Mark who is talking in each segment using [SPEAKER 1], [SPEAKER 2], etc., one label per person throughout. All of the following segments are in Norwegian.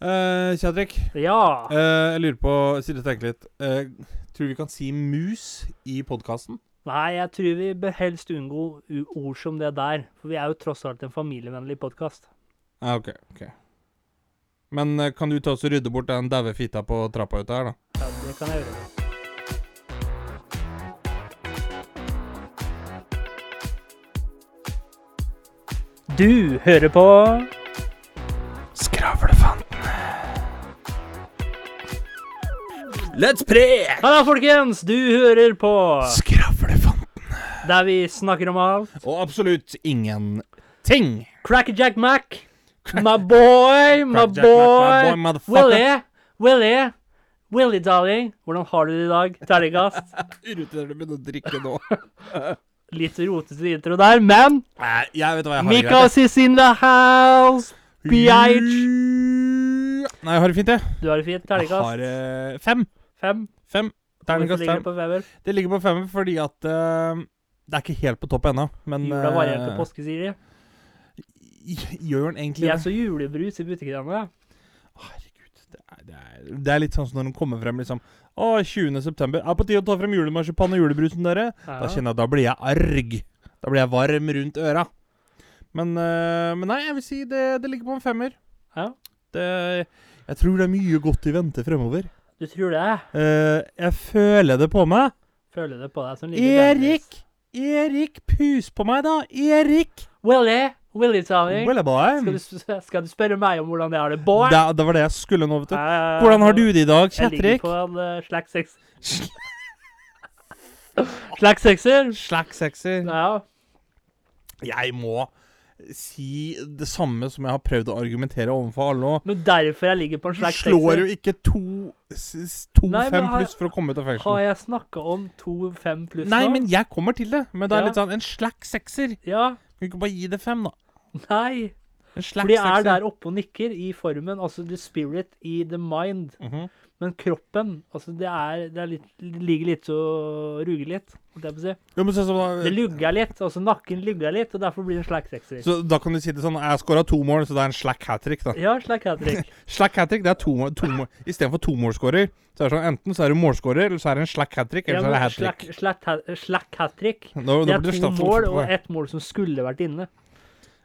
[SPEAKER 1] Eh, Kjadrik,
[SPEAKER 2] Ja.
[SPEAKER 1] eh, jeg lurer på Sitte og tenke litt. Eh, tror du vi kan si mus i podkasten?
[SPEAKER 2] Nei, jeg tror vi bør helst unngå u- ord som det der. For vi er jo tross alt en familievennlig podkast.
[SPEAKER 1] Ja, OK. ok Men eh, kan du ta oss og rydde bort den daue fitta på trappa ute her, da?
[SPEAKER 2] Ja, det kan jeg gjøre. Du hører på
[SPEAKER 1] Skravlefantene. Let's pre!
[SPEAKER 2] Halla, folkens! Du hører på
[SPEAKER 1] Skravlefant.
[SPEAKER 2] der vi snakker om alt.
[SPEAKER 1] Og absolutt ingenting.
[SPEAKER 2] Crackjack Mac. My boy, my
[SPEAKER 1] Crackjack Mac, my boy,
[SPEAKER 2] boy.
[SPEAKER 1] motherfucker.
[SPEAKER 2] Willy, Willy, Willy darling. Hvordan har du det i dag? Terningkast.
[SPEAKER 1] Irriterer du begynner å drikke nå?
[SPEAKER 2] Litt rotete intro der, men
[SPEAKER 1] Nei, jeg vet hva jeg har i
[SPEAKER 2] Mikael is in the house. Bitch.
[SPEAKER 1] Nei, jeg har det fint, jeg.
[SPEAKER 2] Du har det fint.
[SPEAKER 1] Jeg
[SPEAKER 2] Terningkast
[SPEAKER 1] har eh, fem.
[SPEAKER 2] fem.
[SPEAKER 1] Fem.
[SPEAKER 2] Hvorfor
[SPEAKER 1] Terningkast
[SPEAKER 2] ligger det
[SPEAKER 1] fem.
[SPEAKER 2] på femmer?
[SPEAKER 1] Det ligger på femmer fordi at eh, det er ikke helt på topp ennå, men
[SPEAKER 2] Jula varierer til
[SPEAKER 1] eh,
[SPEAKER 2] påske, sier de.
[SPEAKER 1] j- Gjør den egentlig
[SPEAKER 2] Jeg
[SPEAKER 1] det?
[SPEAKER 2] så julebrus i butikken ennå. jeg.
[SPEAKER 1] Herregud, det er, det, er, det er litt sånn som når den kommer frem liksom Å, 20. september. Er på tide å ta frem julemarsipan og julebrusen, dere. Da
[SPEAKER 2] Ja.
[SPEAKER 1] kjenner jeg, da blir jeg arg. Da blir jeg varm rundt øra. Men, eh, men nei, jeg vil si det, det ligger på en femmer.
[SPEAKER 2] Ja.
[SPEAKER 1] Det, jeg tror det er mye godt i vente fremover.
[SPEAKER 2] Du tror det?
[SPEAKER 1] Eh, jeg føler det på meg.
[SPEAKER 2] Føler det på deg som ligger
[SPEAKER 1] Erik! Erik, pus på meg, da! Erik!
[SPEAKER 2] Willy, Willy darling.
[SPEAKER 1] Well, boy.
[SPEAKER 2] Skal du, s- skal du spørre meg om hvordan jeg har det, boy?
[SPEAKER 1] Det, det var det jeg skulle nå, vet du.
[SPEAKER 2] Eh,
[SPEAKER 1] Hvordan har du det i dag,
[SPEAKER 2] Jeg ligger
[SPEAKER 1] Kjetrik?
[SPEAKER 2] på en eh, slags seks... Slags sekser?
[SPEAKER 1] Slack sexy.
[SPEAKER 2] Ja.
[SPEAKER 1] Jeg må si det samme som jeg har prøvd å argumentere overfor alle nå.
[SPEAKER 2] Men derfor jeg ligger på en
[SPEAKER 1] Du
[SPEAKER 2] slags
[SPEAKER 1] slår
[SPEAKER 2] sekser.
[SPEAKER 1] jo ikke to- s- s- to
[SPEAKER 2] Nei, men
[SPEAKER 1] fem
[SPEAKER 2] har-
[SPEAKER 1] pluss for å komme ut av
[SPEAKER 2] Har
[SPEAKER 1] fengsel.
[SPEAKER 2] jeg snakka om to fem pluss
[SPEAKER 1] Nei,
[SPEAKER 2] nå?
[SPEAKER 1] men jeg kommer til det. Men det er
[SPEAKER 2] Ja.
[SPEAKER 1] litt sånn en slack sekser.
[SPEAKER 2] Ja.
[SPEAKER 1] Kan vi ikke bare gi det fem, da?
[SPEAKER 2] Nei.
[SPEAKER 1] En slack
[SPEAKER 2] For de er
[SPEAKER 1] sekser.
[SPEAKER 2] der oppe og nikker i formen. Altså the spirit i the mind.
[SPEAKER 1] Mhm.
[SPEAKER 2] Men kroppen altså det, er, det, er litt, det ligger litt og ruger litt. holdt jeg på å si.
[SPEAKER 1] Jo, men så, så,
[SPEAKER 2] Det lugger litt. altså Nakken lugger litt, og derfor blir det en slags sekser.
[SPEAKER 1] så da kan du si det sånn Jeg scora to mål, så det er en slack hat trick, da.
[SPEAKER 2] Ja, slags hat-trick.
[SPEAKER 1] Slack hat trick, det er to mål, to mål. Istedenfor to målskårer, så er det sånn enten så er du målskårer, eller så er det en slack hat trick, eller så er det hat trick.
[SPEAKER 2] Slack hat-trick.
[SPEAKER 1] Nå, nå
[SPEAKER 2] Det
[SPEAKER 1] blir
[SPEAKER 2] er to
[SPEAKER 1] straff for
[SPEAKER 2] mål
[SPEAKER 1] fotball.
[SPEAKER 2] og ett mål som skulle vært inne.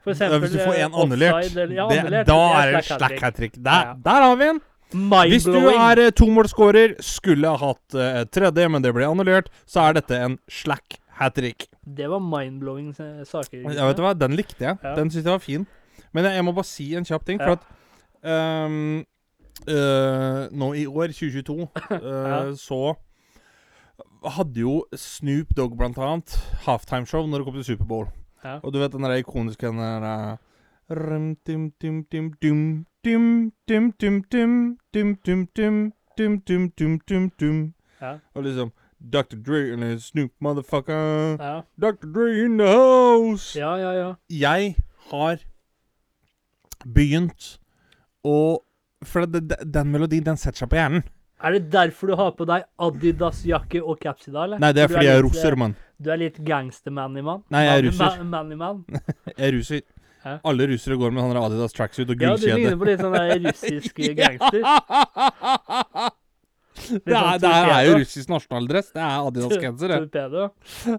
[SPEAKER 2] For
[SPEAKER 1] Ja, Hvis du får én
[SPEAKER 2] eh,
[SPEAKER 1] annullert,
[SPEAKER 2] offside eller- ja,
[SPEAKER 1] det-
[SPEAKER 2] annullert,
[SPEAKER 1] da
[SPEAKER 2] det
[SPEAKER 1] er det
[SPEAKER 2] slack
[SPEAKER 1] slack
[SPEAKER 2] hat-trick.
[SPEAKER 1] hat trick.
[SPEAKER 2] Ja, ja.
[SPEAKER 1] Der, der har vi en! Hvis du
[SPEAKER 2] Mind-blowing.
[SPEAKER 1] er eh, tomålsskårer, skulle ha hatt eh, et tredje, men det ble annullert, så er dette en slack hat trick.
[SPEAKER 2] Det var mind-blowing eh, saker.
[SPEAKER 1] Ja, vet du hva, den likte jeg.
[SPEAKER 2] Ja.
[SPEAKER 1] Den syntes jeg var fin. Men jeg, jeg må bare si en kjapp ting,
[SPEAKER 2] Ja.
[SPEAKER 1] for at ehm, eh, Nå i år, 2022, eh,
[SPEAKER 2] Ja.
[SPEAKER 1] så hadde jo Snoop Dogg blant annet halftimeshow når det kom til Superbowl.
[SPEAKER 2] Ja.
[SPEAKER 1] Og du vet den der ikoniske den der eh, Rum, dum, dum, dum, dum, dum, dum, dum, dum, dum, dum, dum, dum, dum, dum, dum, dum.
[SPEAKER 2] Ja.
[SPEAKER 1] Og liksom Dr. Dre and his Snoop motherfucker.
[SPEAKER 2] Ja,
[SPEAKER 1] Dr. Dre in the house.
[SPEAKER 2] ja, ja. ja.
[SPEAKER 1] Jeg har begynt å For det, det, den melodien, den setter seg på hjernen.
[SPEAKER 2] Er det derfor du har på deg Adidas-jakke og caps i dag, eller?
[SPEAKER 1] Nei, det er
[SPEAKER 2] Du
[SPEAKER 1] fordi jeg er
[SPEAKER 2] litt,
[SPEAKER 1] russer, mann.
[SPEAKER 2] eh, Du er litt gangsterman i mann?
[SPEAKER 1] Nei, jeg er
[SPEAKER 2] Man-
[SPEAKER 1] russer.
[SPEAKER 2] man- Man i mann?
[SPEAKER 1] Jeg er russer.
[SPEAKER 2] Hæ?
[SPEAKER 1] Alle russere går med sånne Adidas tracksuit og
[SPEAKER 2] Ja, du ligner
[SPEAKER 1] gullkjede.
[SPEAKER 2] på litt sånn der russisk eh, gangster.
[SPEAKER 1] Det er,
[SPEAKER 2] sånn
[SPEAKER 1] det er jo
[SPEAKER 2] torpedo.
[SPEAKER 1] russisk nasjonaldress. Det er Adidas-genser, det.
[SPEAKER 2] Torpedo.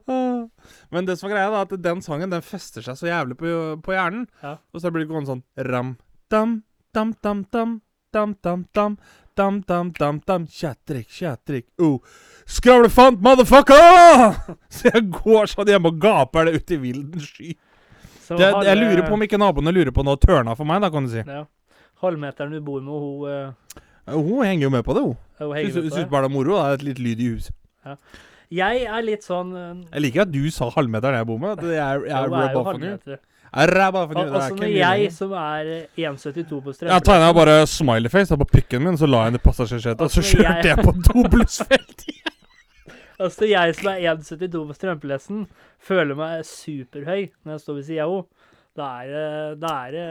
[SPEAKER 1] Ah. Men det som er greia, da, at den sangen den fester seg så jævlig på, på hjernen.
[SPEAKER 2] Ja.
[SPEAKER 1] Og så blir det gående sånn ram, dam, dam, dam, dam, dam, dam, dam, dam, dam, dam, dam, kjætrik, kjætrik, oh. Skravlefant, motherfucker! Så jeg går sånn hjemme og gaper det ut i vilden sky.
[SPEAKER 2] Så
[SPEAKER 1] Det,
[SPEAKER 2] halve-
[SPEAKER 1] jeg lurer på om ikke naboene lurer på noe tørna for meg, da, kan du si.
[SPEAKER 2] Ja. Halvmeteren du bor med, hun, eh,
[SPEAKER 1] Hun henger jo med på det, hun. Syns
[SPEAKER 2] hun henger med på
[SPEAKER 1] syns
[SPEAKER 2] deg.
[SPEAKER 1] bare det er moro. Det er et litt lyd i huset.
[SPEAKER 2] Jeg er litt sånn eh,
[SPEAKER 1] Jeg liker at du sa halvmeteren jeg bor med. Det er, jeg er
[SPEAKER 2] hun er jo
[SPEAKER 1] rabba for nu.
[SPEAKER 2] halvmeter.
[SPEAKER 1] Jeg er rabba for nu,
[SPEAKER 2] Al-
[SPEAKER 1] det er
[SPEAKER 2] Altså,
[SPEAKER 1] ikke
[SPEAKER 2] når
[SPEAKER 1] en lillemann.
[SPEAKER 2] jeg som er eh, 1,72 på
[SPEAKER 1] Jeg
[SPEAKER 2] strømmen
[SPEAKER 1] tegna bare smileyface da på pikken min, så la jeg den i passasjersetet, og så
[SPEAKER 2] Altså,
[SPEAKER 1] kjørte
[SPEAKER 2] jeg-
[SPEAKER 1] jeg på dobbeltfelt.
[SPEAKER 2] Altså, jeg som er 1,72 på strømpelesten, føler meg superhøy når jeg står ved sida av henne. Da er det da er det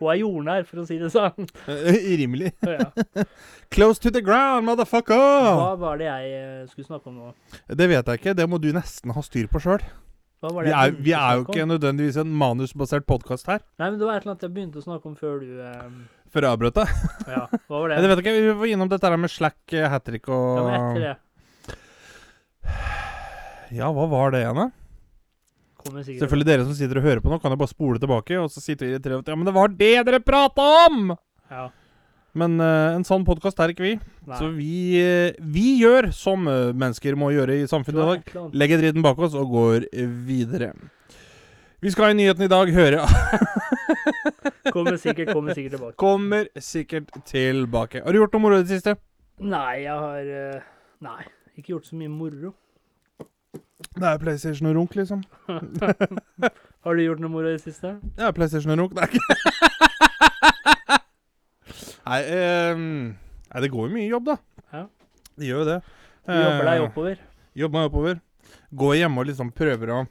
[SPEAKER 2] Hun er jordnær, for å si det sånn.
[SPEAKER 1] Eh, Rimelig.
[SPEAKER 2] Ja.
[SPEAKER 1] Close to the ground, motherfucker!
[SPEAKER 2] Hva var det jeg eh, skulle snakke om nå?
[SPEAKER 1] Det vet jeg ikke, det må du nesten ha styr på sjøl.
[SPEAKER 2] Hva var
[SPEAKER 1] Vi,
[SPEAKER 2] det jeg
[SPEAKER 1] er-
[SPEAKER 2] begynte
[SPEAKER 1] vi
[SPEAKER 2] å
[SPEAKER 1] er jo
[SPEAKER 2] snakke
[SPEAKER 1] ikke
[SPEAKER 2] om?
[SPEAKER 1] nødvendigvis en manusbasert podkast her.
[SPEAKER 2] Nei, men Det var et eller annet jeg begynte å snakke om før du eh,
[SPEAKER 1] før jeg avbrøt deg.
[SPEAKER 2] Ja, hva var
[SPEAKER 1] Jeg
[SPEAKER 2] det?
[SPEAKER 1] vet ikke, Vi var innom dette her med slack, eh, hat trick
[SPEAKER 2] Ja,
[SPEAKER 1] og
[SPEAKER 2] men etter det
[SPEAKER 1] Ja, hva var det igjen, da?
[SPEAKER 2] kommer sikkert
[SPEAKER 1] Selvfølgelig dere som sitter og hører på nå, kan jo bare spole tilbake og så sitte og irritere over at Ja, men det var det dere prata om!
[SPEAKER 2] Ja,
[SPEAKER 1] Men eh, en sånn podkast er ikke vi.
[SPEAKER 2] nei.
[SPEAKER 1] Så vi, eh, vi gjør som eh, mennesker må gjøre i
[SPEAKER 2] Det
[SPEAKER 1] samfunnet i
[SPEAKER 2] var
[SPEAKER 1] dag.
[SPEAKER 2] et eller annet.
[SPEAKER 1] legger dritten bak oss og går eh, videre. Vi skal i nyheten i dag høre
[SPEAKER 2] Kommer sikkert, kommer sikkert tilbake.
[SPEAKER 1] Kommer sikkert tilbake. Har du gjort noe moro i det siste?
[SPEAKER 2] Nei, jeg har eh, Nei, ikke gjort så mye moro.
[SPEAKER 1] Det er PlayStation og runk, liksom.
[SPEAKER 2] Har du gjort noe moro i det siste?
[SPEAKER 1] Det er PlayStation og runk, det er ikke Nei, ehm, nei, det går jo mye jobb, da.
[SPEAKER 2] Ja.
[SPEAKER 1] Det gjør jo det.
[SPEAKER 2] Du jobber deg
[SPEAKER 1] Eh,
[SPEAKER 2] oppover.
[SPEAKER 1] Jobber meg oppover. Går hjemme og liksom prøver å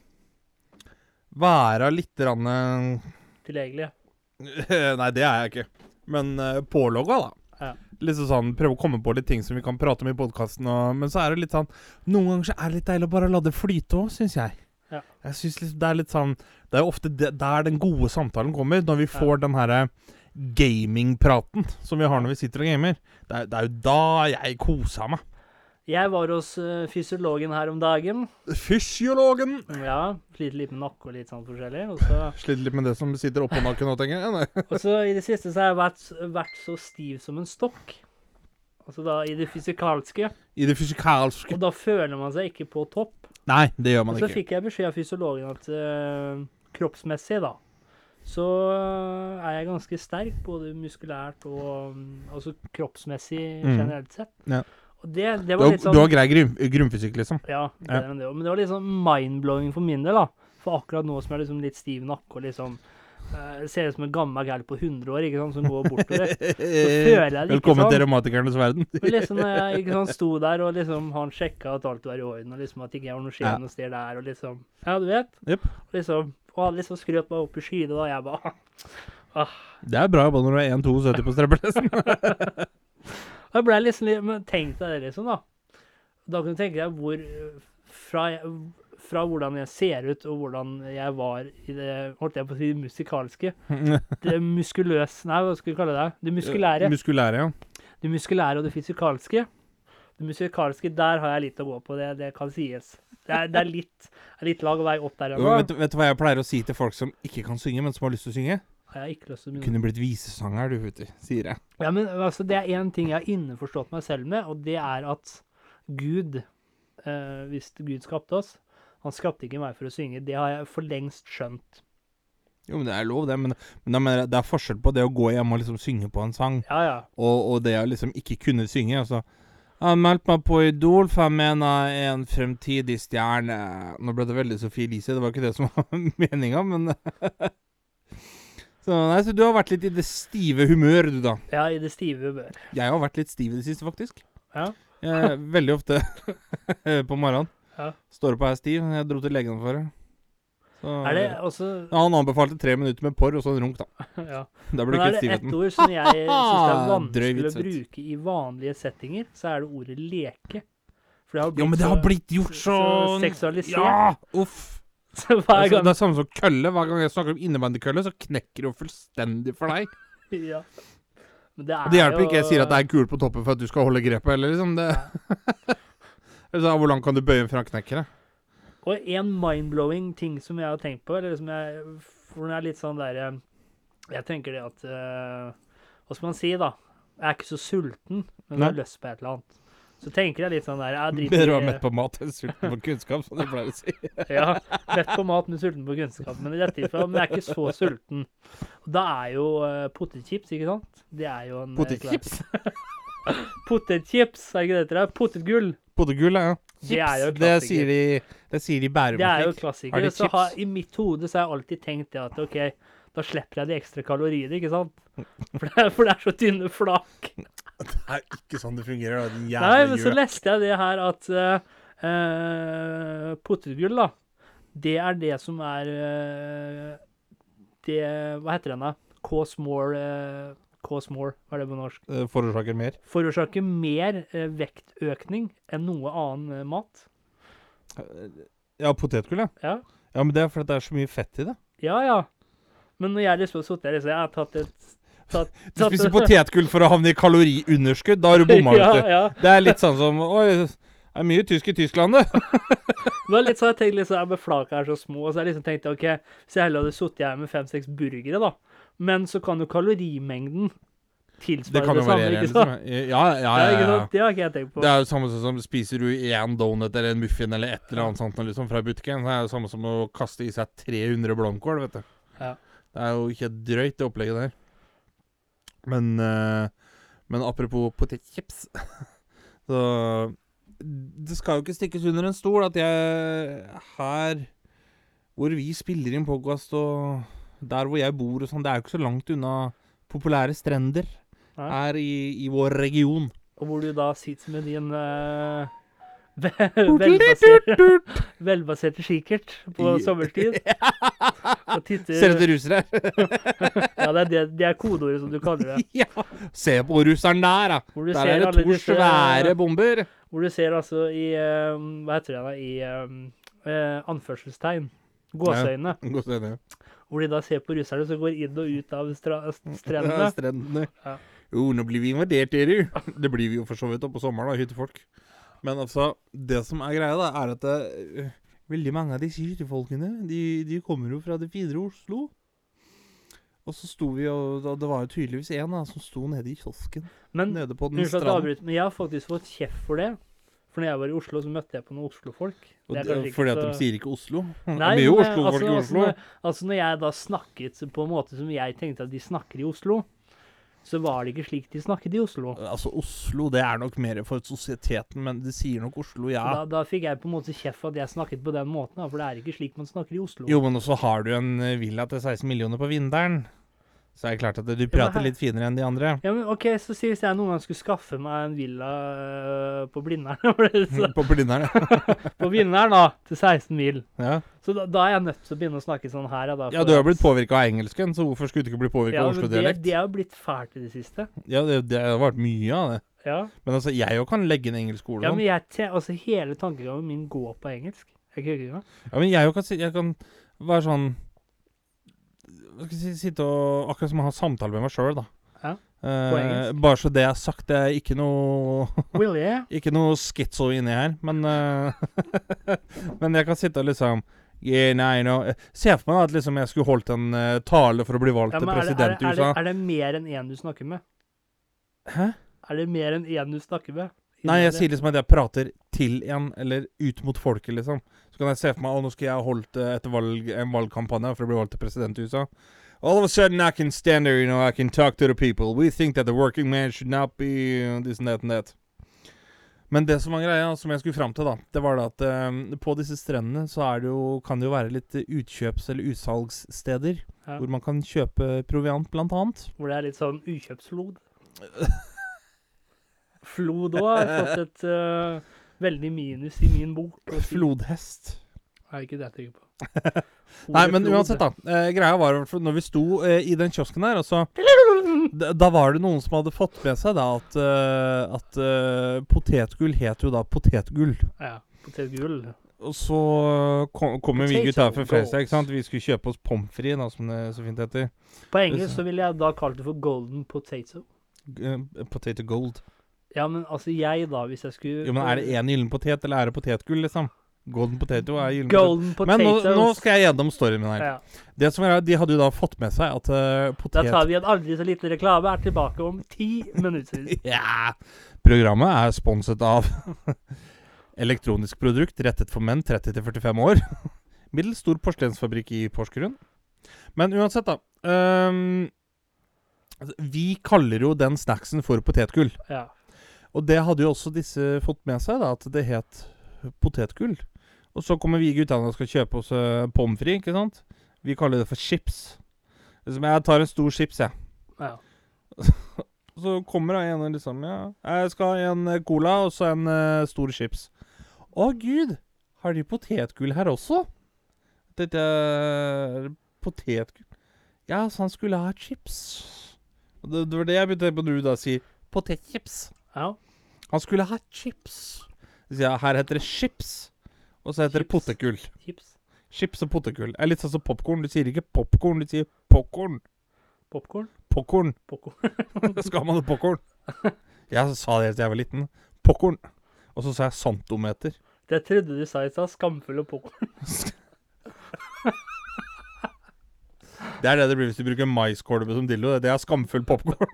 [SPEAKER 1] være litt rann, eh,
[SPEAKER 2] Tilgjengelig.
[SPEAKER 1] Nei, det er jeg ikke. Men uh, pålogga, da.
[SPEAKER 2] Ja.
[SPEAKER 1] Liksom sånn, Prøve å komme på litt ting som vi kan prate om i podkasten. Men så er det litt sånn Noen ganger så er det litt deilig å bare la det flyte òg, syns jeg.
[SPEAKER 2] Ja.
[SPEAKER 1] Jeg synes liksom Det er litt sånn Det er jo ofte de- der den gode samtalen kommer. Når vi får den herre gamingpraten som vi har når vi sitter og gamer. Det er, det er jo da jeg koser meg.
[SPEAKER 2] Jeg var hos eh, fysiologen her om dagen.
[SPEAKER 1] Fysiologen!
[SPEAKER 2] Ja, Sliter litt med nakke og litt sånn forskjellig. Og så,
[SPEAKER 1] Sliter litt med det som sitter oppå nakken nå, tenker jeg. Nei.
[SPEAKER 2] og så i det siste så har jeg vært, vært så stiv som en stokk. Altså da i det fysikalske.
[SPEAKER 1] I det fysikalske
[SPEAKER 2] Og da føler man seg ikke på topp.
[SPEAKER 1] Nei, det gjør
[SPEAKER 2] Og
[SPEAKER 1] man
[SPEAKER 2] så
[SPEAKER 1] ikke.
[SPEAKER 2] fikk jeg beskjed av fysiologen at eh, kroppsmessig, da, så er jeg ganske sterk, både muskulært og mm, altså kroppsmessig
[SPEAKER 1] Mm.
[SPEAKER 2] generelt sett.
[SPEAKER 1] Ja.
[SPEAKER 2] Og det, det
[SPEAKER 1] Du
[SPEAKER 2] var
[SPEAKER 1] har,
[SPEAKER 2] litt sånn
[SPEAKER 1] du har grei grunn, grunnfysikk, liksom.
[SPEAKER 2] Ja, bedre enn det også. Men det var litt sånn mind-blowing for min del, da. For akkurat nå som jeg er liksom litt stiv nakke og liksom eh, ser ut som en gammel gæl på 100 år ikke sant, som går bortover. føler jeg det ikke
[SPEAKER 1] Velkommen til
[SPEAKER 2] sånn.
[SPEAKER 1] romantikernes verden.
[SPEAKER 2] Og liksom når jeg ikke sant, sto der, og liksom han sjekka at alt var i orden, og liksom at ikke jeg var noe
[SPEAKER 1] Ja.
[SPEAKER 2] skjev noe sted der, og liksom Ja, du vet?
[SPEAKER 1] Jep.
[SPEAKER 2] Og liksom Og han liksom skrøt meg opp i skyene, og jeg bare
[SPEAKER 1] Det er bra jobba når du er 1,72 på strømpelesten.
[SPEAKER 2] Og jeg ble liksom litt Men tenk deg det, liksom, da. Da kan du tenke deg hvor eh, fra, jeg- fra hvordan jeg ser ut, og hvordan jeg var i det holdt jeg på å si, musikalske. det muskuløs... Nei, hva skal vi kalle det? Det muskulære.
[SPEAKER 1] Muskulære, ja.
[SPEAKER 2] Det muskulære og det fysikalske. Det musikalske, der har jeg litt å gå på. Det, det kan sies. Det er, det er litt, er litt lag og vei opp der
[SPEAKER 1] Jo, vet,
[SPEAKER 2] ennå.
[SPEAKER 1] du- vet du hva jeg pleier å si til folk som ikke kan synge, men som har lyst til å synge?
[SPEAKER 2] Har jeg ikke lyst til å
[SPEAKER 1] Du
[SPEAKER 2] begynne.
[SPEAKER 1] kunne blitt visesanger, du, vet du. Sier jeg.
[SPEAKER 2] Ja, men altså, det er én ting jeg har innforstått meg selv med, og det er at Gud, eh, hvis Gud skapte oss Han skapte ikke meg for å synge. Det har jeg for lengst skjønt.
[SPEAKER 1] Jo, men det er lov, det. Men, men jeg mener, det er forskjell på det å gå hjem og liksom synge på en sang,
[SPEAKER 2] Ja, ja.
[SPEAKER 1] og, og det å liksom ikke kunne synge. Altså jeg meldte meg på Idol, for jeg mener jeg er en fremtidig stjerne. Nå ble det veldig Sophie Elise, det var ikke det som var meninga, men så, nei, så du har vært litt i det stive humør, du, da.
[SPEAKER 2] ja I det stive bør.
[SPEAKER 1] Jeg har vært litt stiv i det siste, faktisk.
[SPEAKER 2] Ja.
[SPEAKER 1] Eh, veldig ofte på morgenen.
[SPEAKER 2] Ja.
[SPEAKER 1] Står opp og er stiv. Jeg dro til legen for det. Så,
[SPEAKER 2] Er det også
[SPEAKER 1] ja, han anbefalte tre minutter med porr og så en runk, da.
[SPEAKER 2] Ja.
[SPEAKER 1] Da ble det kutt
[SPEAKER 2] Men er det ett
[SPEAKER 1] stivheten.
[SPEAKER 2] ord som jeg syns det er
[SPEAKER 1] Drøy
[SPEAKER 2] vanskelig
[SPEAKER 1] vits,
[SPEAKER 2] å
[SPEAKER 1] vet du.
[SPEAKER 2] bruke i vanlige settinger, så er det ordet leke. For det har blitt,
[SPEAKER 1] Ja, men det har blitt gjort
[SPEAKER 2] så
[SPEAKER 1] sånn
[SPEAKER 2] seksualisert.
[SPEAKER 1] Ja! Uff.
[SPEAKER 2] så, så hver
[SPEAKER 1] Altså,
[SPEAKER 2] gang
[SPEAKER 1] det er samme som kølle. Hver gang jeg snakker om innebandykølle, så knekker det jo fullstendig for deg.
[SPEAKER 2] ja. Men det, er
[SPEAKER 1] Og det hjelper
[SPEAKER 2] jo-
[SPEAKER 1] ikke jeg sier at det er kul på toppen for at du skal holde grepet, eller liksom det Eller så, Hvor langt kan du bøye fra knekkere?
[SPEAKER 2] Og en mindblowing ting som jeg har tenkt på, eller som jeg For når jeg er litt sånn der eh, Jeg tenker det at eh, Hva skal man si, da? Jeg er ikke så sulten, men jeg har lyst på et eller annet. Så tenker jeg litt sånn der Jeg driter
[SPEAKER 1] Bedre å
[SPEAKER 2] i-
[SPEAKER 1] være mett på mat enn sulten på kunnskap, som de pleier å si.
[SPEAKER 2] Ja, mett på mat, men sulten på kunnskap. Men i dette tilfellet, men jeg er ikke så sulten. Og da er jo uh, potetchips, ikke sant? Det er jo en eh,
[SPEAKER 1] Potetchips?
[SPEAKER 2] klar- Potetchips, er ikke det det heter? Potetgull.
[SPEAKER 1] Potetgull, ja.
[SPEAKER 2] Det er jo en
[SPEAKER 1] Chips, det
[SPEAKER 2] klassiker.
[SPEAKER 1] sier de, det sier de i Bærum.
[SPEAKER 2] Det er jo en
[SPEAKER 1] ikke? Har
[SPEAKER 2] klassiker.
[SPEAKER 1] de
[SPEAKER 2] og Så har,
[SPEAKER 1] chips?
[SPEAKER 2] I mitt hode så har jeg alltid tenkt det at OK, da slipper jeg de ekstra kaloriene, ikke sant? For det, er- for det er så tynne flak.
[SPEAKER 1] Det er ikke sånn det fungerer. da, din
[SPEAKER 2] Nei,
[SPEAKER 1] jævla
[SPEAKER 2] men så
[SPEAKER 1] jøl.
[SPEAKER 2] leste jeg det her at eh, eh, potetgull, da, det er det som er eh, Det Hva heter den, da? Cause more eh, Cause more, hva er det på norsk?
[SPEAKER 1] Eh, Forårsaker mer.
[SPEAKER 2] Forårsaker mer eh, vektøkning enn noe annen eh, mat.
[SPEAKER 1] Ja, potetgull, ja.
[SPEAKER 2] Ja,
[SPEAKER 1] Ja, men det er fordi det er så mye fett i det.
[SPEAKER 2] ja. ja. Men når jeg liksom har sittet her, så jeg har tatt et Tatt,
[SPEAKER 1] Du spiser potetgull for å havne i kaloriunderskudd. Da har du bomma,
[SPEAKER 2] ja,
[SPEAKER 1] vet du.
[SPEAKER 2] ja.
[SPEAKER 1] Det er litt sånn som Oi, det er mye tysk i Tyskland, det.
[SPEAKER 2] Det var litt sånn jeg tenkte liksom, ja, men flaka er så små, og så jeg liksom tenkte OK, hvis jeg heller hadde sittet her med fem-seks burgere, da, men så kan jo kalorimengden tilsvare
[SPEAKER 1] Det
[SPEAKER 2] det,
[SPEAKER 1] kan jo
[SPEAKER 2] samme,
[SPEAKER 1] variere.
[SPEAKER 2] ikke
[SPEAKER 1] Liksom.
[SPEAKER 2] sant?
[SPEAKER 1] Ja, ja,
[SPEAKER 2] Ja,
[SPEAKER 1] ja,
[SPEAKER 2] ikke
[SPEAKER 1] ja,
[SPEAKER 2] sant? Det har ikke jeg tenkt på.
[SPEAKER 1] Det er jo samme som spiser du én donut eller en muffin eller et eller annet sånt noe liksom, fra butikken. Det er jo samme som å kaste i seg 300 blomkål, vet du.
[SPEAKER 2] Ja.
[SPEAKER 1] Det er jo ikke drøyt, det opplegget der. Men, eh, men apropos potetchips Så det skal jo ikke stikkes under en stol at jeg her hvor vi spiller inn podcast og der hvor jeg bor og sånn, det er jo ikke så langt unna populære strender
[SPEAKER 2] Nei.
[SPEAKER 1] her i, i vår region.
[SPEAKER 2] Og hvor du da sitter med din eh, ve- velbaserte, velbaserte kikkert på
[SPEAKER 1] Ja.
[SPEAKER 2] sommerstid og titter
[SPEAKER 1] Ser du etter rusere?
[SPEAKER 2] Ja, det er, det, det er kodeordet som du kaller det.
[SPEAKER 1] Ja, se på russeren der, da.
[SPEAKER 2] Hvor du
[SPEAKER 1] Der
[SPEAKER 2] ser
[SPEAKER 1] er det
[SPEAKER 2] alle
[SPEAKER 1] to
[SPEAKER 2] disse-
[SPEAKER 1] svære bomber.
[SPEAKER 2] Hvor du ser altså i eh, Hva heter det da? I eh, eh, anførselstegn. Gåseøyne. Hvor de da ser på russerne som går inn og ut av stra
[SPEAKER 1] Ja,
[SPEAKER 2] strendene.
[SPEAKER 1] strendene.
[SPEAKER 2] Ja.
[SPEAKER 1] Jo, nå blir vi invadert, dere. Det blir vi jo for så vidt da på sommeren, da, hyttefolk. Men altså, det som er greia, da, er at det, øh, veldig mange av disse hyttefolkene, de, de kommer jo fra det videre Oslo. Og så sto vi og da- Det var jo tydeligvis en da, som sto nede i kiosken.
[SPEAKER 2] Men
[SPEAKER 1] Nede på den
[SPEAKER 2] unnskyld at jeg
[SPEAKER 1] stranden.
[SPEAKER 2] avbryter, men jeg har faktisk fått kjeft for det. For når jeg var i Oslo, så møtte jeg på noen Oslo-folk.
[SPEAKER 1] Og
[SPEAKER 2] Det er
[SPEAKER 1] det-
[SPEAKER 2] kanskje ikke
[SPEAKER 1] Fordi at
[SPEAKER 2] så-
[SPEAKER 1] de sier ikke Oslo. Det
[SPEAKER 2] Nei,
[SPEAKER 1] er mye
[SPEAKER 2] men, eh,
[SPEAKER 1] Oslo-folk i
[SPEAKER 2] altså,
[SPEAKER 1] Oslo.
[SPEAKER 2] Altså, når- altså når jeg da snakket på en måte som jeg tenkte at de snakker i Oslo, så var det ikke slik de snakket i Oslo.
[SPEAKER 1] Altså, Oslo, det er nok mer for sosieteten, men det sier nok Oslo, ja.
[SPEAKER 2] Da, da fikk jeg på en måte kjeft for at jeg snakket på den måten, da, for det er ikke slik man snakker i Oslo.
[SPEAKER 1] Jo, men også har du en eh, villa til 16 millioner på Vinderen. Så er det klart at du
[SPEAKER 2] men
[SPEAKER 1] prater
[SPEAKER 2] her-
[SPEAKER 1] litt finere enn de andre.
[SPEAKER 2] Ja, men ok, så si hvis jeg noen gang skulle skaffe meg en villa øh, på Blindern, var det så-
[SPEAKER 1] På Blindern, ja.
[SPEAKER 2] på Blindern da, til 16 mil,
[SPEAKER 1] ja.
[SPEAKER 2] så da, da er jeg nødt til å begynne å snakke sånn her, ja da.
[SPEAKER 1] Ja, du har blitt påvirka av engelsken, så hvorfor skulle du ikke bli påvirka
[SPEAKER 2] ja,
[SPEAKER 1] av
[SPEAKER 2] men det,
[SPEAKER 1] Oslo-dialekt?
[SPEAKER 2] det er jo blitt fælt i det siste.
[SPEAKER 1] Ja, det, det har vært mye av det.
[SPEAKER 2] Ja,
[SPEAKER 1] Men altså, jeg jo kan legge inn engelsk ord og
[SPEAKER 2] ja
[SPEAKER 1] sånn.
[SPEAKER 2] men jeg, te- altså hele tankegangen min går på engelsk. Jeg kødder ikke.
[SPEAKER 1] sånn. Ja, men jeg jo kan, si- jeg kan være sånn Hva skal jeg si, Sitte og Akkurat som å ha samtale med meg sjøl, da.
[SPEAKER 2] Ja,
[SPEAKER 1] Eh,
[SPEAKER 2] engelsk.
[SPEAKER 1] bare så det er sagt, det er ikke noe
[SPEAKER 2] Will you?
[SPEAKER 1] Ikke noe schizo inni her, men eh, Men jeg kan sitte og liksom yeah, nei, no. Se for meg da at liksom jeg skulle holdt en eh, tale for å bli valgt
[SPEAKER 2] Ja,
[SPEAKER 1] til
[SPEAKER 2] men er det, er,
[SPEAKER 1] president
[SPEAKER 2] det,
[SPEAKER 1] i
[SPEAKER 2] er, det,
[SPEAKER 1] USA.
[SPEAKER 2] er det mer enn én du snakker med?
[SPEAKER 1] Hæ?
[SPEAKER 2] Er det mer enn én du snakker med?
[SPEAKER 1] Nei, jeg sier liksom at jeg prater til en, eller ut mot folket, liksom. Så kan jeg se for meg at nå skal jeg ha holdt eh, et valg, en valgkampanje for å bli valgt til president i USA. All of a sudden I can stand there, you know, I can talk to the people. We think that the working man should not be uh, this and that and that. Men det som var greia, som jeg skulle fram til, da, det var da at eh, på disse strendene så er det jo, kan det jo være litt eh, utkjøps- eller utsalgssteder
[SPEAKER 2] Ja.
[SPEAKER 1] hvor man kan kjøpe proviant, blant annet.
[SPEAKER 2] Hvor det er litt sånn ukjøpsflod. Flod òg har fått et øh, veldig minus i min bok. å si.
[SPEAKER 1] Flodhest.
[SPEAKER 2] Er ikke det jeg tenker på.
[SPEAKER 1] Nei,
[SPEAKER 2] Ordet
[SPEAKER 1] men
[SPEAKER 2] flod.
[SPEAKER 1] uansett, da. Eh, greia var i hvert fall når vi sto eh, i den kiosken der, og så da, da var det noen som hadde fått med seg da at, eh, at eh, potetgull het jo da potetgull.
[SPEAKER 2] Ja. Potetgull.
[SPEAKER 1] Og så kom, kommer vi
[SPEAKER 2] Potato
[SPEAKER 1] gutta her fra Fredrikstad,
[SPEAKER 2] gold.
[SPEAKER 1] ikke sant. Vi skulle kjøpe oss pommes frites, da, som det så fint heter.
[SPEAKER 2] På engelsk så ville jeg da kalt det for golden potato.
[SPEAKER 1] G- eh, Potato gold.
[SPEAKER 2] Ja, men altså jeg, da, hvis jeg skulle
[SPEAKER 1] Jo, men er det én gyllen potet, eller er det potetgull, liksom? Golden potato er gyllen potet.
[SPEAKER 2] Golden
[SPEAKER 1] Men nå,
[SPEAKER 2] potatoes.
[SPEAKER 1] nå skal jeg gjennom storyen min her.
[SPEAKER 2] ja.
[SPEAKER 1] Det som er, De hadde jo da fått med seg at eh,
[SPEAKER 2] Da
[SPEAKER 1] potet...
[SPEAKER 2] tar vi en aldri så liten reklame. Er tilbake om ti minutter.
[SPEAKER 1] Ja. Programmet er sponset av elektronisk produkt rettet for menn 30-45 år. Middels stor porselensfabrikk i Porsgrunn. Men uansett, da. ehm, altså, vi kaller jo den snacksen for potetgull.
[SPEAKER 2] Ja.
[SPEAKER 1] Og det hadde jo også disse fått med seg, da, at det het potetgull. Og så kommer vi guttene og skal kjøpe oss eh, pommes frites, ikke sant? Vi kaller det for chips. Liksom, jeg tar en stor chips, jeg.
[SPEAKER 2] ja.
[SPEAKER 1] Så kommer det en og liksom Ja, jeg skal ha en eh, cola og så en eh, stor chips. Å gud, har de potetgull her også? Dette er potetgull Ja, så han skulle ha chips. Og det, det var det jeg begynte på når du da sier potetchips.
[SPEAKER 2] ja.
[SPEAKER 1] Han skulle ha chips. Så sier jeg, her heter det chips, og så heter det
[SPEAKER 2] Chips.
[SPEAKER 1] potetgull.
[SPEAKER 2] Chips.
[SPEAKER 1] Chips og potetgull. Det er litt sånn som popkorn. Du sier ikke popkorn, du sier popkorn.
[SPEAKER 2] Popkorn.
[SPEAKER 1] Popkorn.
[SPEAKER 2] Poco.
[SPEAKER 1] Skal man ha popkorn? Jeg sa det helt til jeg var liten. Popkorn. Og så sa jeg santometer.
[SPEAKER 2] Det trodde du sa i stad. Skamfull og poco.
[SPEAKER 1] Det er det det blir hvis du bruker maiskolbe som dildo. Det er skamfull popkorn.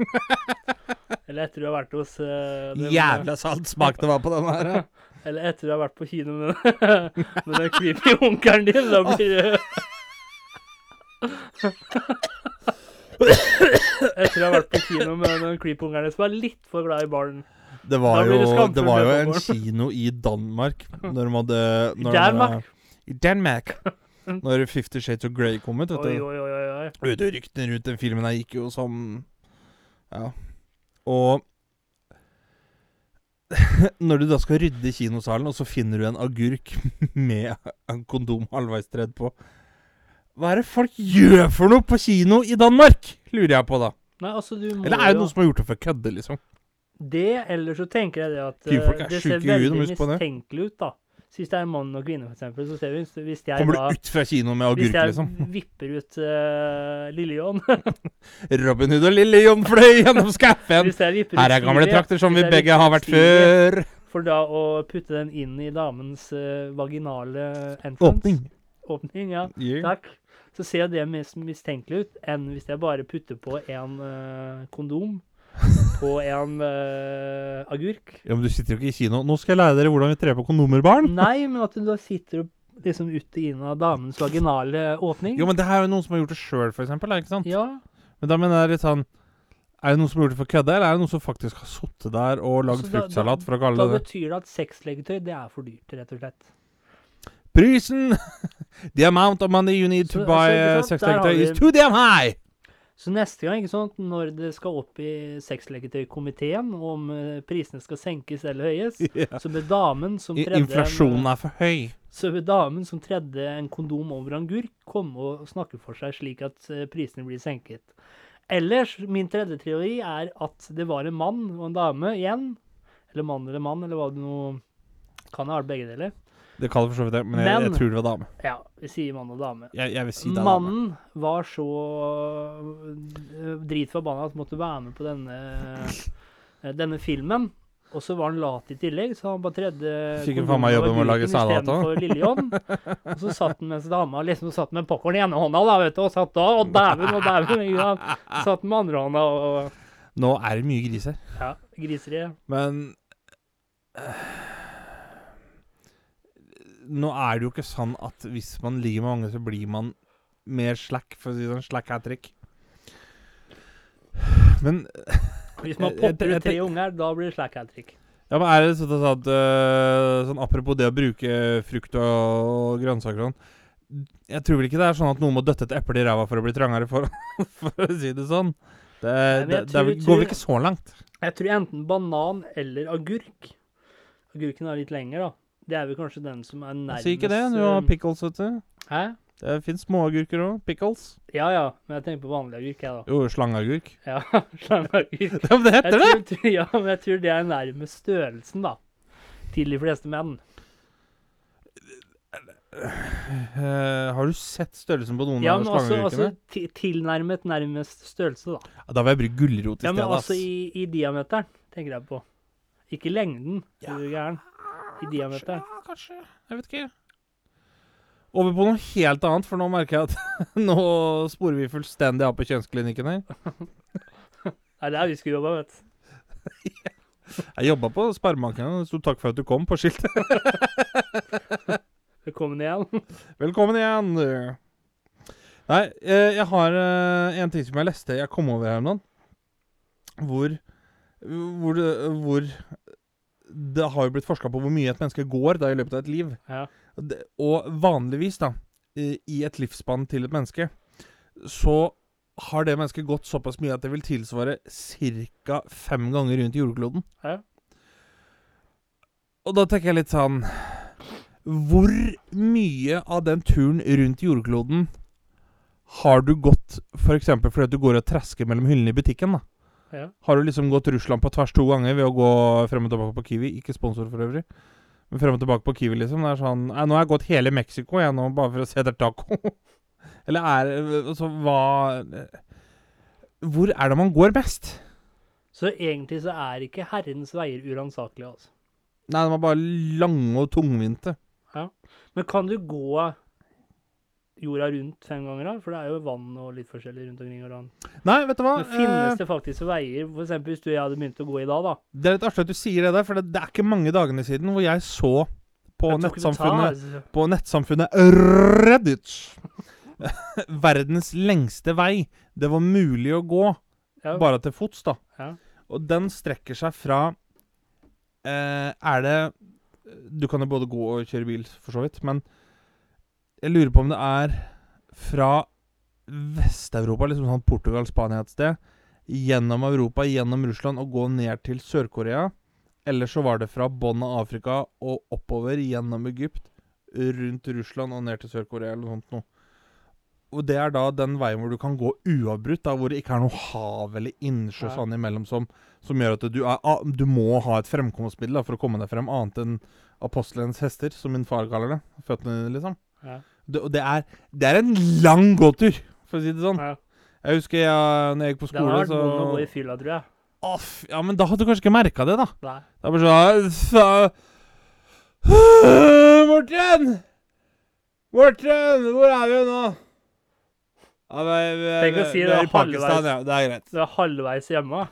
[SPEAKER 2] Eller etter du har vært hos eh, det-
[SPEAKER 1] Jævla salt smak det var på den her. ja.
[SPEAKER 2] Eller etter du har vært på kino med, med den creepy onkelen din. Da blir det Etter du har vært på kino med den creepy onkelen din som er litt for glad i barn.
[SPEAKER 1] Det var
[SPEAKER 2] Da blir
[SPEAKER 1] jo,
[SPEAKER 2] det skamfull
[SPEAKER 1] det var jo en
[SPEAKER 2] popcorn.
[SPEAKER 1] kino i Danmark når de hadde når de-
[SPEAKER 2] Danmark?
[SPEAKER 1] I Danmark. Når Fifty Shades of Grey kom ut. vet
[SPEAKER 2] Oi,
[SPEAKER 1] du.
[SPEAKER 2] oi, oi, oi, oi.
[SPEAKER 1] Vet du, ryktene rundt den filmen her gikk jo som Ja. Og når du da skal rydde i kinosalen, og så finner du en agurk med en kondom halvveis tredd på Hva er det folk gjør for noe på kino i Danmark? Lurer jeg på, da.
[SPEAKER 2] Nei, altså, du må
[SPEAKER 1] Eller er det
[SPEAKER 2] jo-
[SPEAKER 1] noen som har gjort det for å kødde, liksom?
[SPEAKER 2] Det, eller så tenker jeg det at eh,
[SPEAKER 1] Kvinnfolk er
[SPEAKER 2] det
[SPEAKER 1] syke
[SPEAKER 2] ser
[SPEAKER 1] i huet, de må
[SPEAKER 2] veldig
[SPEAKER 1] huske på det.
[SPEAKER 2] mistenkelig ut, da. Så Hvis det er en mann og kvinne, for eksempel, så ser vi hvis- Hvis jeg
[SPEAKER 1] Kommer
[SPEAKER 2] da
[SPEAKER 1] du ut fra kino med
[SPEAKER 2] Hvis
[SPEAKER 1] agurk,
[SPEAKER 2] jeg
[SPEAKER 1] liksom?
[SPEAKER 2] vipper ut uh, Lille John
[SPEAKER 1] Robin Hood og lille John fløy gjennom skauen.
[SPEAKER 2] hvis jeg vipper ut
[SPEAKER 1] Her er gamle
[SPEAKER 2] Siri,
[SPEAKER 1] trakter som vi
[SPEAKER 2] hvis jeg
[SPEAKER 1] begge
[SPEAKER 2] vipper
[SPEAKER 1] har
[SPEAKER 2] ut
[SPEAKER 1] vært
[SPEAKER 2] Siri,
[SPEAKER 1] før.
[SPEAKER 2] For da å putte den inn i damens eh, vaginale entrance
[SPEAKER 1] Åpning.
[SPEAKER 2] Åpning, ja.
[SPEAKER 1] Yeah.
[SPEAKER 2] Takk. Så ser jo det mest mistenkelig ut enn hvis jeg bare putter på en eh, kondom på en eh, agurk.
[SPEAKER 1] Ja, men du sitter jo ikke i kino. Nå skal jeg lære dere hvordan vi trer på kondomer, barn.
[SPEAKER 2] Nei, men at du da sitter og liksom ute inn av damens vaginale åpning.
[SPEAKER 1] Jo, men det her er jo noen som har gjort det sjøl, for eksempel. da, Ikke sant?
[SPEAKER 2] Ja.
[SPEAKER 1] Men da mener jeg litt sånn Er det noen som har gjort det for å kødde, eller er det noen som faktisk har sittet der og lagd
[SPEAKER 2] Altså, da-
[SPEAKER 1] fruktsalat, for å
[SPEAKER 2] Da
[SPEAKER 1] kalle det det?
[SPEAKER 2] betyr det at sexlegetøy, det er for dyrt, rett og slett.
[SPEAKER 1] Prisen! The amount of money you need to
[SPEAKER 2] Så, altså,
[SPEAKER 1] buy
[SPEAKER 2] ikke
[SPEAKER 1] uh,
[SPEAKER 2] sant?
[SPEAKER 1] sex
[SPEAKER 2] Der har
[SPEAKER 1] toy
[SPEAKER 2] vi-
[SPEAKER 1] is too damn high!
[SPEAKER 2] Så neste gang, ikke sant, når det skal opp i sexlegetøykomiteen om eh, prisene skal senkes eller høyes,
[SPEAKER 1] Ja.
[SPEAKER 2] så bør damen som
[SPEAKER 1] I-
[SPEAKER 2] tredde
[SPEAKER 1] Inflasjonen
[SPEAKER 2] en,
[SPEAKER 1] er for høy.
[SPEAKER 2] så bør damen som tredde en kondom over en gurk, komme og snakke for seg slik at eh, prisene blir senket. Ellers, min tredje teori er at det var en mann og en dame igjen, eller mann eller mann, eller hva det nå kan ha vært begge deler.
[SPEAKER 1] Det kaller for så vidt det, men jeg,
[SPEAKER 2] Men-
[SPEAKER 1] jeg tror det var dame.
[SPEAKER 2] Ja, vi sier mann og dame.
[SPEAKER 1] Jeg, jeg vil si det er dame.
[SPEAKER 2] Mannen var så øh, dritforbanna at han måtte være med på denne, øh, denne filmen. Og så var han lat i tillegg, så han bare tredde
[SPEAKER 1] Fikk han faen meg jobbe med å lage salat da.
[SPEAKER 2] òg. Og så satt han mens dama liksom satt med popkorn i ene hånda, da, vet du, og satt da og dæven og dæven. ikke sant? Satt med andre hånda og
[SPEAKER 1] Nå er det mye gris her.
[SPEAKER 2] ja, griseri.
[SPEAKER 1] Men eh, Nå er det jo ikke sånn at hvis man ligger med mange, så blir man mer slack, for å si det sånn. Slack hat trick. Men,
[SPEAKER 2] Hvis man
[SPEAKER 1] Jeg- jeg-
[SPEAKER 2] popper
[SPEAKER 1] jeg
[SPEAKER 2] ut tre
[SPEAKER 1] tenk-
[SPEAKER 2] unger, da blir det slack hat trick.
[SPEAKER 1] ja, men er det sånn at at, eh, sånn Apropos det å bruke frukt og grønnsaker og sånn. Jeg tror vel ikke det er sånn at noen må døtte et eple i ræva for å bli trangere, for, for å si det sånn. Det,
[SPEAKER 2] men
[SPEAKER 1] det,
[SPEAKER 2] jeg
[SPEAKER 1] det er vel-
[SPEAKER 2] tror-
[SPEAKER 1] går vel
[SPEAKER 2] tror-
[SPEAKER 1] ikke så langt.
[SPEAKER 2] Jeg tror enten banan eller agurk. Agurken er litt lenger, da. Det er vel kanskje den som er nærmest
[SPEAKER 1] Si ikke det. Du har
[SPEAKER 2] eh,
[SPEAKER 1] pickles, vet du.
[SPEAKER 2] Hæ?
[SPEAKER 1] Det fins småagurker òg. Pickles.
[SPEAKER 2] Ja ja, men jeg tenker på vanlig agurk, jeg, da.
[SPEAKER 1] Jo, slangeagurk.
[SPEAKER 2] Ja, slangeagurk.
[SPEAKER 1] Ja, men det
[SPEAKER 2] Jeg
[SPEAKER 1] heter det!
[SPEAKER 2] tror, tror- ja, men jeg tror det er nærmest størrelsen, da. Til de fleste menn.
[SPEAKER 1] Eh, har du sett størrelsen på noen
[SPEAKER 2] Ja,
[SPEAKER 1] av
[SPEAKER 2] men altså- også,
[SPEAKER 1] slangeagurkene?
[SPEAKER 2] også ti- tilnærmet nærmest størrelse, da.
[SPEAKER 1] Ja, da vil jeg bruke gulrot i
[SPEAKER 2] Ja, men
[SPEAKER 1] stedet. ass.
[SPEAKER 2] altså i, i diameteren, tenker jeg på. Ikke lengden, er du gæren. I diameteren.
[SPEAKER 1] Kanskje, ja, kanskje. Jeg vet ikke. Over på noe helt annet, for nå merker jeg at nå sporer vi fullstendig av på kjønnsklinikken her.
[SPEAKER 2] Det er der vi skulle jobba, vet du.
[SPEAKER 1] Jeg jobba på Sparebanken, og det sto 'takk for at du kom' på skiltet.
[SPEAKER 2] Velkommen igjen.
[SPEAKER 1] Velkommen igjen! du. Nei, eh, jeg har eh, en ting som jeg leste jeg kom over her om dagen. Hvor hvor, det- hvor det har jo blitt forska på hvor mye et menneske går da i løpet av et liv.
[SPEAKER 2] Ja.
[SPEAKER 1] Og det- Og vanligvis, da, i i et livsspann til et menneske, så har det mennesket gått såpass mye at det vil tilsvare ca. fem ganger rundt jordkloden.
[SPEAKER 2] Ja.
[SPEAKER 1] Og da tenker jeg litt sånn Hvor mye av den turen rundt jordkloden har du gått f.eks. fordi at du går og trasker mellom hyllene i butikken, da?
[SPEAKER 2] Ja.
[SPEAKER 1] Har du liksom gått Russland på tvers to ganger ved å gå frem og tilbake på Kiwi? Ikke sponsor for øvrig. Men frem og tilbake på Kiwi, liksom. Det er sånn «Nei, Nå har jeg gått hele Mexico, jeg nå, bare for å se etter taco. Eller er Altså, hva Hvor er det man går best?
[SPEAKER 2] Så egentlig så er ikke Herrens veier uransakelige, altså.
[SPEAKER 1] Nei, de er bare lange og tungvinte.
[SPEAKER 2] Men kan du gå jorda rundt fem ganger, da? For det er jo vann og litt forskjellig rundt omkring. Og land.
[SPEAKER 1] Nei, vet du hva?
[SPEAKER 2] Men
[SPEAKER 1] Eh,
[SPEAKER 2] finnes det faktisk veier? For eksempel hvis du og jeg hadde begynt å gå i dag, da.
[SPEAKER 1] Det er litt artig at du sier det der, for det, det er ikke mange dagene siden hvor jeg så på
[SPEAKER 2] Jeg tror ikke du
[SPEAKER 1] nettsamfunnet,
[SPEAKER 2] tar-
[SPEAKER 1] på nettsamfunnet Reddit verdens lengste vei det var mulig å gå,
[SPEAKER 2] Ja.
[SPEAKER 1] bare til fots, da.
[SPEAKER 2] Ja.
[SPEAKER 1] Og den strekker seg fra eh, Er det Du kan jo både gå og kjøre bil, for så vidt, men jeg lurer på om det er fra Vest-Europa, liksom sånn Portugal, Spania et sted, gjennom Europa, gjennom Russland og gå ned til Sør-Korea. Eller så var det fra bånn av Afrika og oppover gjennom Egypt, rundt Russland og ned til Sør-Korea eller noe sånt noe. Og det er da den veien hvor du kan gå uavbrutt, da, hvor det ikke er noe hav eller innsjø
[SPEAKER 2] Ja.
[SPEAKER 1] sånn imellom som, som gjør at du, er, ah, du må ha et fremkomstmiddel da, for å komme deg frem, annet enn apostelens hester, som min far kaller det. Føttene dine, liksom.
[SPEAKER 2] Ja.
[SPEAKER 1] Det, og det er, det er en lang gåtur, for å si det sånn.
[SPEAKER 2] Ja.
[SPEAKER 1] Jeg husker jeg, når jeg gikk på
[SPEAKER 2] Det hadde
[SPEAKER 1] skole,
[SPEAKER 2] vært
[SPEAKER 1] så
[SPEAKER 2] vondt å gå i fylla, tror jeg.
[SPEAKER 1] Å, fy- Ja, men da hadde du kanskje ikke merka det, da.
[SPEAKER 2] Nei.
[SPEAKER 1] Det er bare sånn «Øh, Morten! Morten, hvor er vi nå? Ja, vi, vi,
[SPEAKER 2] Tenk å
[SPEAKER 1] vi-
[SPEAKER 2] si
[SPEAKER 1] vi
[SPEAKER 2] det
[SPEAKER 1] er i
[SPEAKER 2] halvveis.
[SPEAKER 1] Pakistan, ja. Det er greit.
[SPEAKER 2] Du er halvveis hjemme.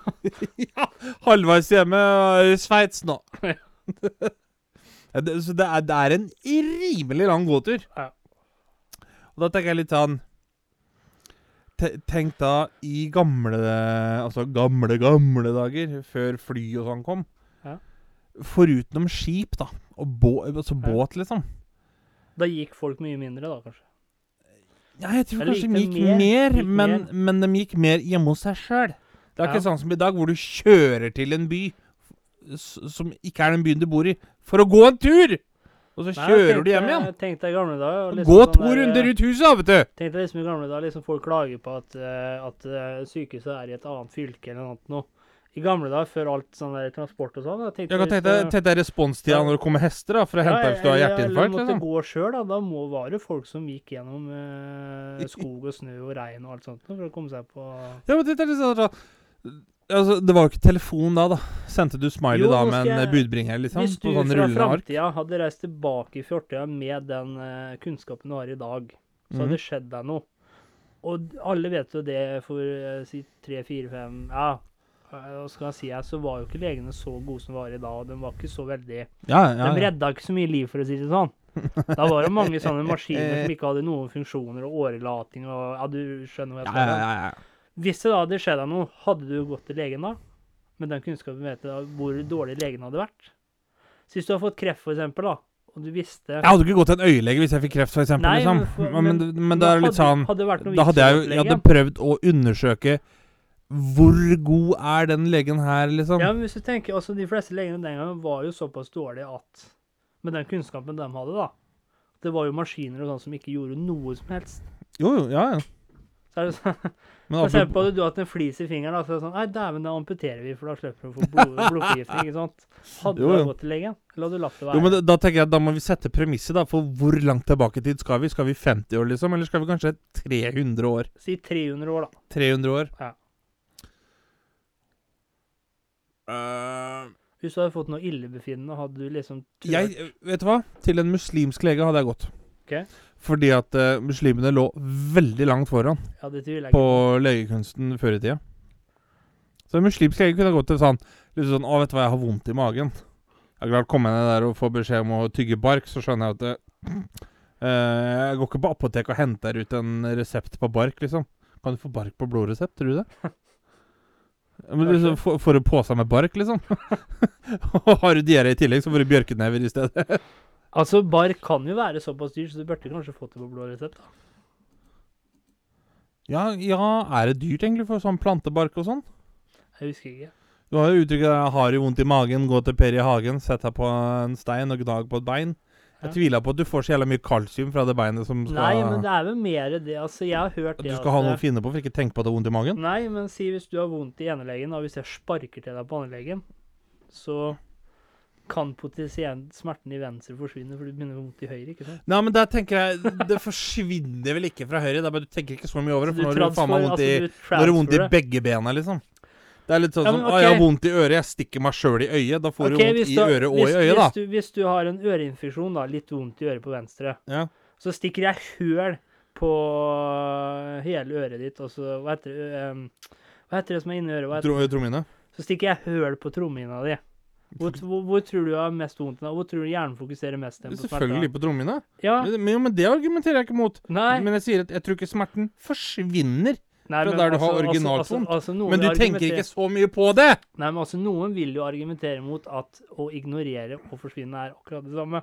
[SPEAKER 1] Halvveis hjemme og er i Sveits nå. Ja, det, så det er, det er en rimelig lang gåtur.
[SPEAKER 2] Ja.
[SPEAKER 1] Og da tenker jeg litt sånn te- Tenk da i gamle Altså gamle, gamle dager, før fly og sånn kom.
[SPEAKER 2] Ja.
[SPEAKER 1] Foruten om skip, da. Og bå, altså
[SPEAKER 2] Ja.
[SPEAKER 1] båt, liksom.
[SPEAKER 2] Da gikk folk mye mindre, da, kanskje.
[SPEAKER 1] Ja, jeg tror
[SPEAKER 2] Eller
[SPEAKER 1] kanskje
[SPEAKER 2] gikk
[SPEAKER 1] de
[SPEAKER 2] det
[SPEAKER 1] gikk
[SPEAKER 2] mer?
[SPEAKER 1] mer,
[SPEAKER 2] Gikk
[SPEAKER 1] men,
[SPEAKER 2] mer?
[SPEAKER 1] men de gikk mer hjemme hos seg sjøl. Det er
[SPEAKER 2] Ja.
[SPEAKER 1] ikke sånn som i dag, hvor du kjører til en by s- som ikke er den byen du bor i, for å gå en tur! Og så
[SPEAKER 2] Nei,
[SPEAKER 1] kjører
[SPEAKER 2] tenk
[SPEAKER 1] du hjem
[SPEAKER 2] deg-
[SPEAKER 1] igjen.
[SPEAKER 2] Tenk deg i gamle dager. og
[SPEAKER 1] gå
[SPEAKER 2] liksom sånn
[SPEAKER 1] to
[SPEAKER 2] der, eh,
[SPEAKER 1] runder rundt huset, da, vet du!
[SPEAKER 2] Tenk deg liksom i gamle dager liksom folk klager på at, eh, at eh, sykehuset er i et annet fylke eller noe annet nå. I gamle dager, før alt sånn der transport og sånn. da,
[SPEAKER 1] Jeg
[SPEAKER 2] tenkte
[SPEAKER 1] kan
[SPEAKER 2] hvis
[SPEAKER 1] tenke deg, tenk
[SPEAKER 2] det-
[SPEAKER 1] deg responstida når det kommer hester da, for å hente deg hvis du har
[SPEAKER 2] eller-
[SPEAKER 1] hjerteinfarkt.
[SPEAKER 2] Eller måtte
[SPEAKER 1] Liksom.
[SPEAKER 2] gå sjøl, da. Da må var det folk som gikk gjennom eh, skog og snø og regn og alt sånt for å komme seg på
[SPEAKER 1] Ja, men tenk deg liksom, da, altså, det var jo ikke telefon da, da. Sendte du smiley
[SPEAKER 2] Jo,
[SPEAKER 1] da
[SPEAKER 2] nå
[SPEAKER 1] med
[SPEAKER 2] skal
[SPEAKER 1] en
[SPEAKER 2] jeg-
[SPEAKER 1] eh, budbringer, liksom?
[SPEAKER 2] Hvis du
[SPEAKER 1] på sånn
[SPEAKER 2] fra
[SPEAKER 1] rullende ark?
[SPEAKER 2] framtida hadde reist tilbake i fortida med den eh, kunnskapen du har i dag, så
[SPEAKER 1] Mm. Mhm.
[SPEAKER 2] hadde det skjedd deg noe. Og d- alle vet jo det for eh, si tre, fire, fem Ja, eh, hva skal jeg si, her, så var jo ikke legene så gode som de var i dag. og De var ikke så veldig
[SPEAKER 1] Ja, ja,
[SPEAKER 2] De
[SPEAKER 1] ja.
[SPEAKER 2] redda ikke så mye liv, for å si det sånn. Da var det mange sånne maskiner som ikke hadde noen funksjoner, og årelating og Ja, du skjønner hva jeg
[SPEAKER 1] Ja,
[SPEAKER 2] skal
[SPEAKER 1] ja,
[SPEAKER 2] fram.
[SPEAKER 1] ja, ja.
[SPEAKER 2] Hvis det da hadde skjedd deg noe, hadde du gått til legen da? Med den kunnskapen vet du da hvor dårlig legen hadde vært? Så hvis du har fått kreft, for eksempel, da, og du visste
[SPEAKER 1] Jeg hadde ikke gått til en øyelege hvis jeg fikk kreft, for eksempel,
[SPEAKER 2] Nei,
[SPEAKER 1] liksom.
[SPEAKER 2] men for-
[SPEAKER 1] Men, men, men, da er det litt sånn
[SPEAKER 2] hadde det vært noe
[SPEAKER 1] Da
[SPEAKER 2] vits
[SPEAKER 1] hadde
[SPEAKER 2] å
[SPEAKER 1] jeg
[SPEAKER 2] gå
[SPEAKER 1] jo
[SPEAKER 2] til
[SPEAKER 1] jeg hadde
[SPEAKER 2] legen?
[SPEAKER 1] prøvd å undersøke hvor god er den legen her, liksom.
[SPEAKER 2] Ja, men hvis du tenker, altså De fleste legene den gangen var jo såpass dårlige at Med den kunnskapen de hadde, da Det var jo maskiner og sånn som ikke gjorde noe som helst.
[SPEAKER 1] Jo, jo, ja, ja.
[SPEAKER 2] Så er det sånn,
[SPEAKER 1] Men
[SPEAKER 2] For
[SPEAKER 1] apropos-
[SPEAKER 2] eksempel hadde du hatt en flis i fingeren, da, så er det sånn Nei, dæven, da amputerer vi, for da slipper du å få blod, blodforgiftning, ikke sant? Hadde
[SPEAKER 1] Jo,
[SPEAKER 2] du da
[SPEAKER 1] jo.
[SPEAKER 2] gått til legen? Eller hadde du latt det være?
[SPEAKER 1] jo, men da- da tenker jeg at da må vi sette premisset da, for hvor langt tilbake i tid skal vi? Skal vi 50 år, liksom? Eller skal vi kanskje 300 år?
[SPEAKER 2] Si 300 år, da.
[SPEAKER 1] 300 år?
[SPEAKER 2] Ja.
[SPEAKER 1] Eh,
[SPEAKER 2] Hvis du hadde fått noe illebefinnende, hadde du liksom turt-
[SPEAKER 1] jeg, vet du hva? Til en muslimsk lege hadde jeg gått.
[SPEAKER 2] Ok.
[SPEAKER 1] Fordi at eh, muslimene lå veldig langt foran.
[SPEAKER 2] Ja, det tviler jeg
[SPEAKER 1] på
[SPEAKER 2] ikke
[SPEAKER 1] legekunsten før i tida. Så en muslimsk lege kunne gått til sånn Litt sånn 'Å, vet du hva, jeg har vondt i magen'. Jeg er klart, Kommer jeg ned der og får beskjed om å tygge bark, så skjønner jeg at det, eh, Jeg går ikke på apoteket og henter ut en resept på bark, liksom. Kan du få bark på blodresept, tror du det? Ja, Men liksom, få- Får du pose med bark, liksom? Og har du diaré i tillegg, så får du bjørkenever i stedet.
[SPEAKER 2] Altså, bar kan jo være såpass dyrt, så du burde kanskje fått det på blå resept. da.
[SPEAKER 1] Ja, ja, er det dyrt egentlig for sånn plantebark og sånn?
[SPEAKER 2] Jeg husker ikke.
[SPEAKER 1] Du har jo uttrykket 'jeg har jo vondt i magen', gå til Per i hagen, sett deg på en stein og gnag på et bein. Jeg
[SPEAKER 2] Ja.
[SPEAKER 1] tviler på at du får så jævla mye kalsium fra det beinet som skal
[SPEAKER 2] Nei, men det er vel mer det. Altså, jeg har hørt
[SPEAKER 1] At
[SPEAKER 2] det
[SPEAKER 1] du skal ha noe å
[SPEAKER 2] det-
[SPEAKER 1] finne på for ikke å tenke på at du har vondt i magen?
[SPEAKER 2] Nei, men si hvis du har vondt i enelegen, og hvis jeg sparker til deg på andelegen, så kan potensielt smerten i venstre forsvinne, for du begynner å få vondt i høyre. ikke sant?
[SPEAKER 1] Nei, men der tenker jeg Det forsvinner vel ikke fra høyre. Det er bare Du tenker ikke så mye over det,
[SPEAKER 2] Du
[SPEAKER 1] for nå har du faen meg
[SPEAKER 2] transfer-
[SPEAKER 1] vondt i
[SPEAKER 2] altså, du
[SPEAKER 1] Nå har du vondt i
[SPEAKER 2] transferer.
[SPEAKER 1] begge bena, liksom. Det er litt sånn
[SPEAKER 2] Ja,
[SPEAKER 1] som
[SPEAKER 2] men
[SPEAKER 1] Å, jeg har
[SPEAKER 2] ok.
[SPEAKER 1] vondt i øret. Jeg stikker meg sjøl i øyet. Da får
[SPEAKER 2] Ok,
[SPEAKER 1] du
[SPEAKER 2] hvis
[SPEAKER 1] vondt i
[SPEAKER 2] du-
[SPEAKER 1] øret og i
[SPEAKER 2] hvis-
[SPEAKER 1] øyet,
[SPEAKER 2] hvis
[SPEAKER 1] da.
[SPEAKER 2] du- Hvis du har en øreinfeksjon, da, litt vondt i øret på venstre,
[SPEAKER 1] Ja.
[SPEAKER 2] så stikker jeg høl på hele øret ditt, og så Hva heter det ehm, Hva heter det som er inni øret? Hva heter,
[SPEAKER 1] Tro, Trommehinne?
[SPEAKER 2] så stikker jeg høl på trommehinna di. Hvor, hvor, hvor tror du jeg har mest vondt? da? Hvor tror du hjernen fokuserer mest? hen på smerter, da?
[SPEAKER 1] Selvfølgelig på trommehinne.
[SPEAKER 2] Ja,
[SPEAKER 1] Men, men- jo, men det argumenterer jeg ikke mot.
[SPEAKER 2] nei,
[SPEAKER 1] Men jeg sier at jeg tror ikke smerten forsvinner.
[SPEAKER 2] nei,
[SPEAKER 1] fra
[SPEAKER 2] men
[SPEAKER 1] der du har
[SPEAKER 2] altså- altså-
[SPEAKER 1] originalsvondt.
[SPEAKER 2] altså- altså noen
[SPEAKER 1] Men du tenker
[SPEAKER 2] argumenterer-
[SPEAKER 1] ikke så mye på det!
[SPEAKER 2] Nei, men altså Noen vil jo argumentere mot at å ignorere og forsvinne er akkurat det samme.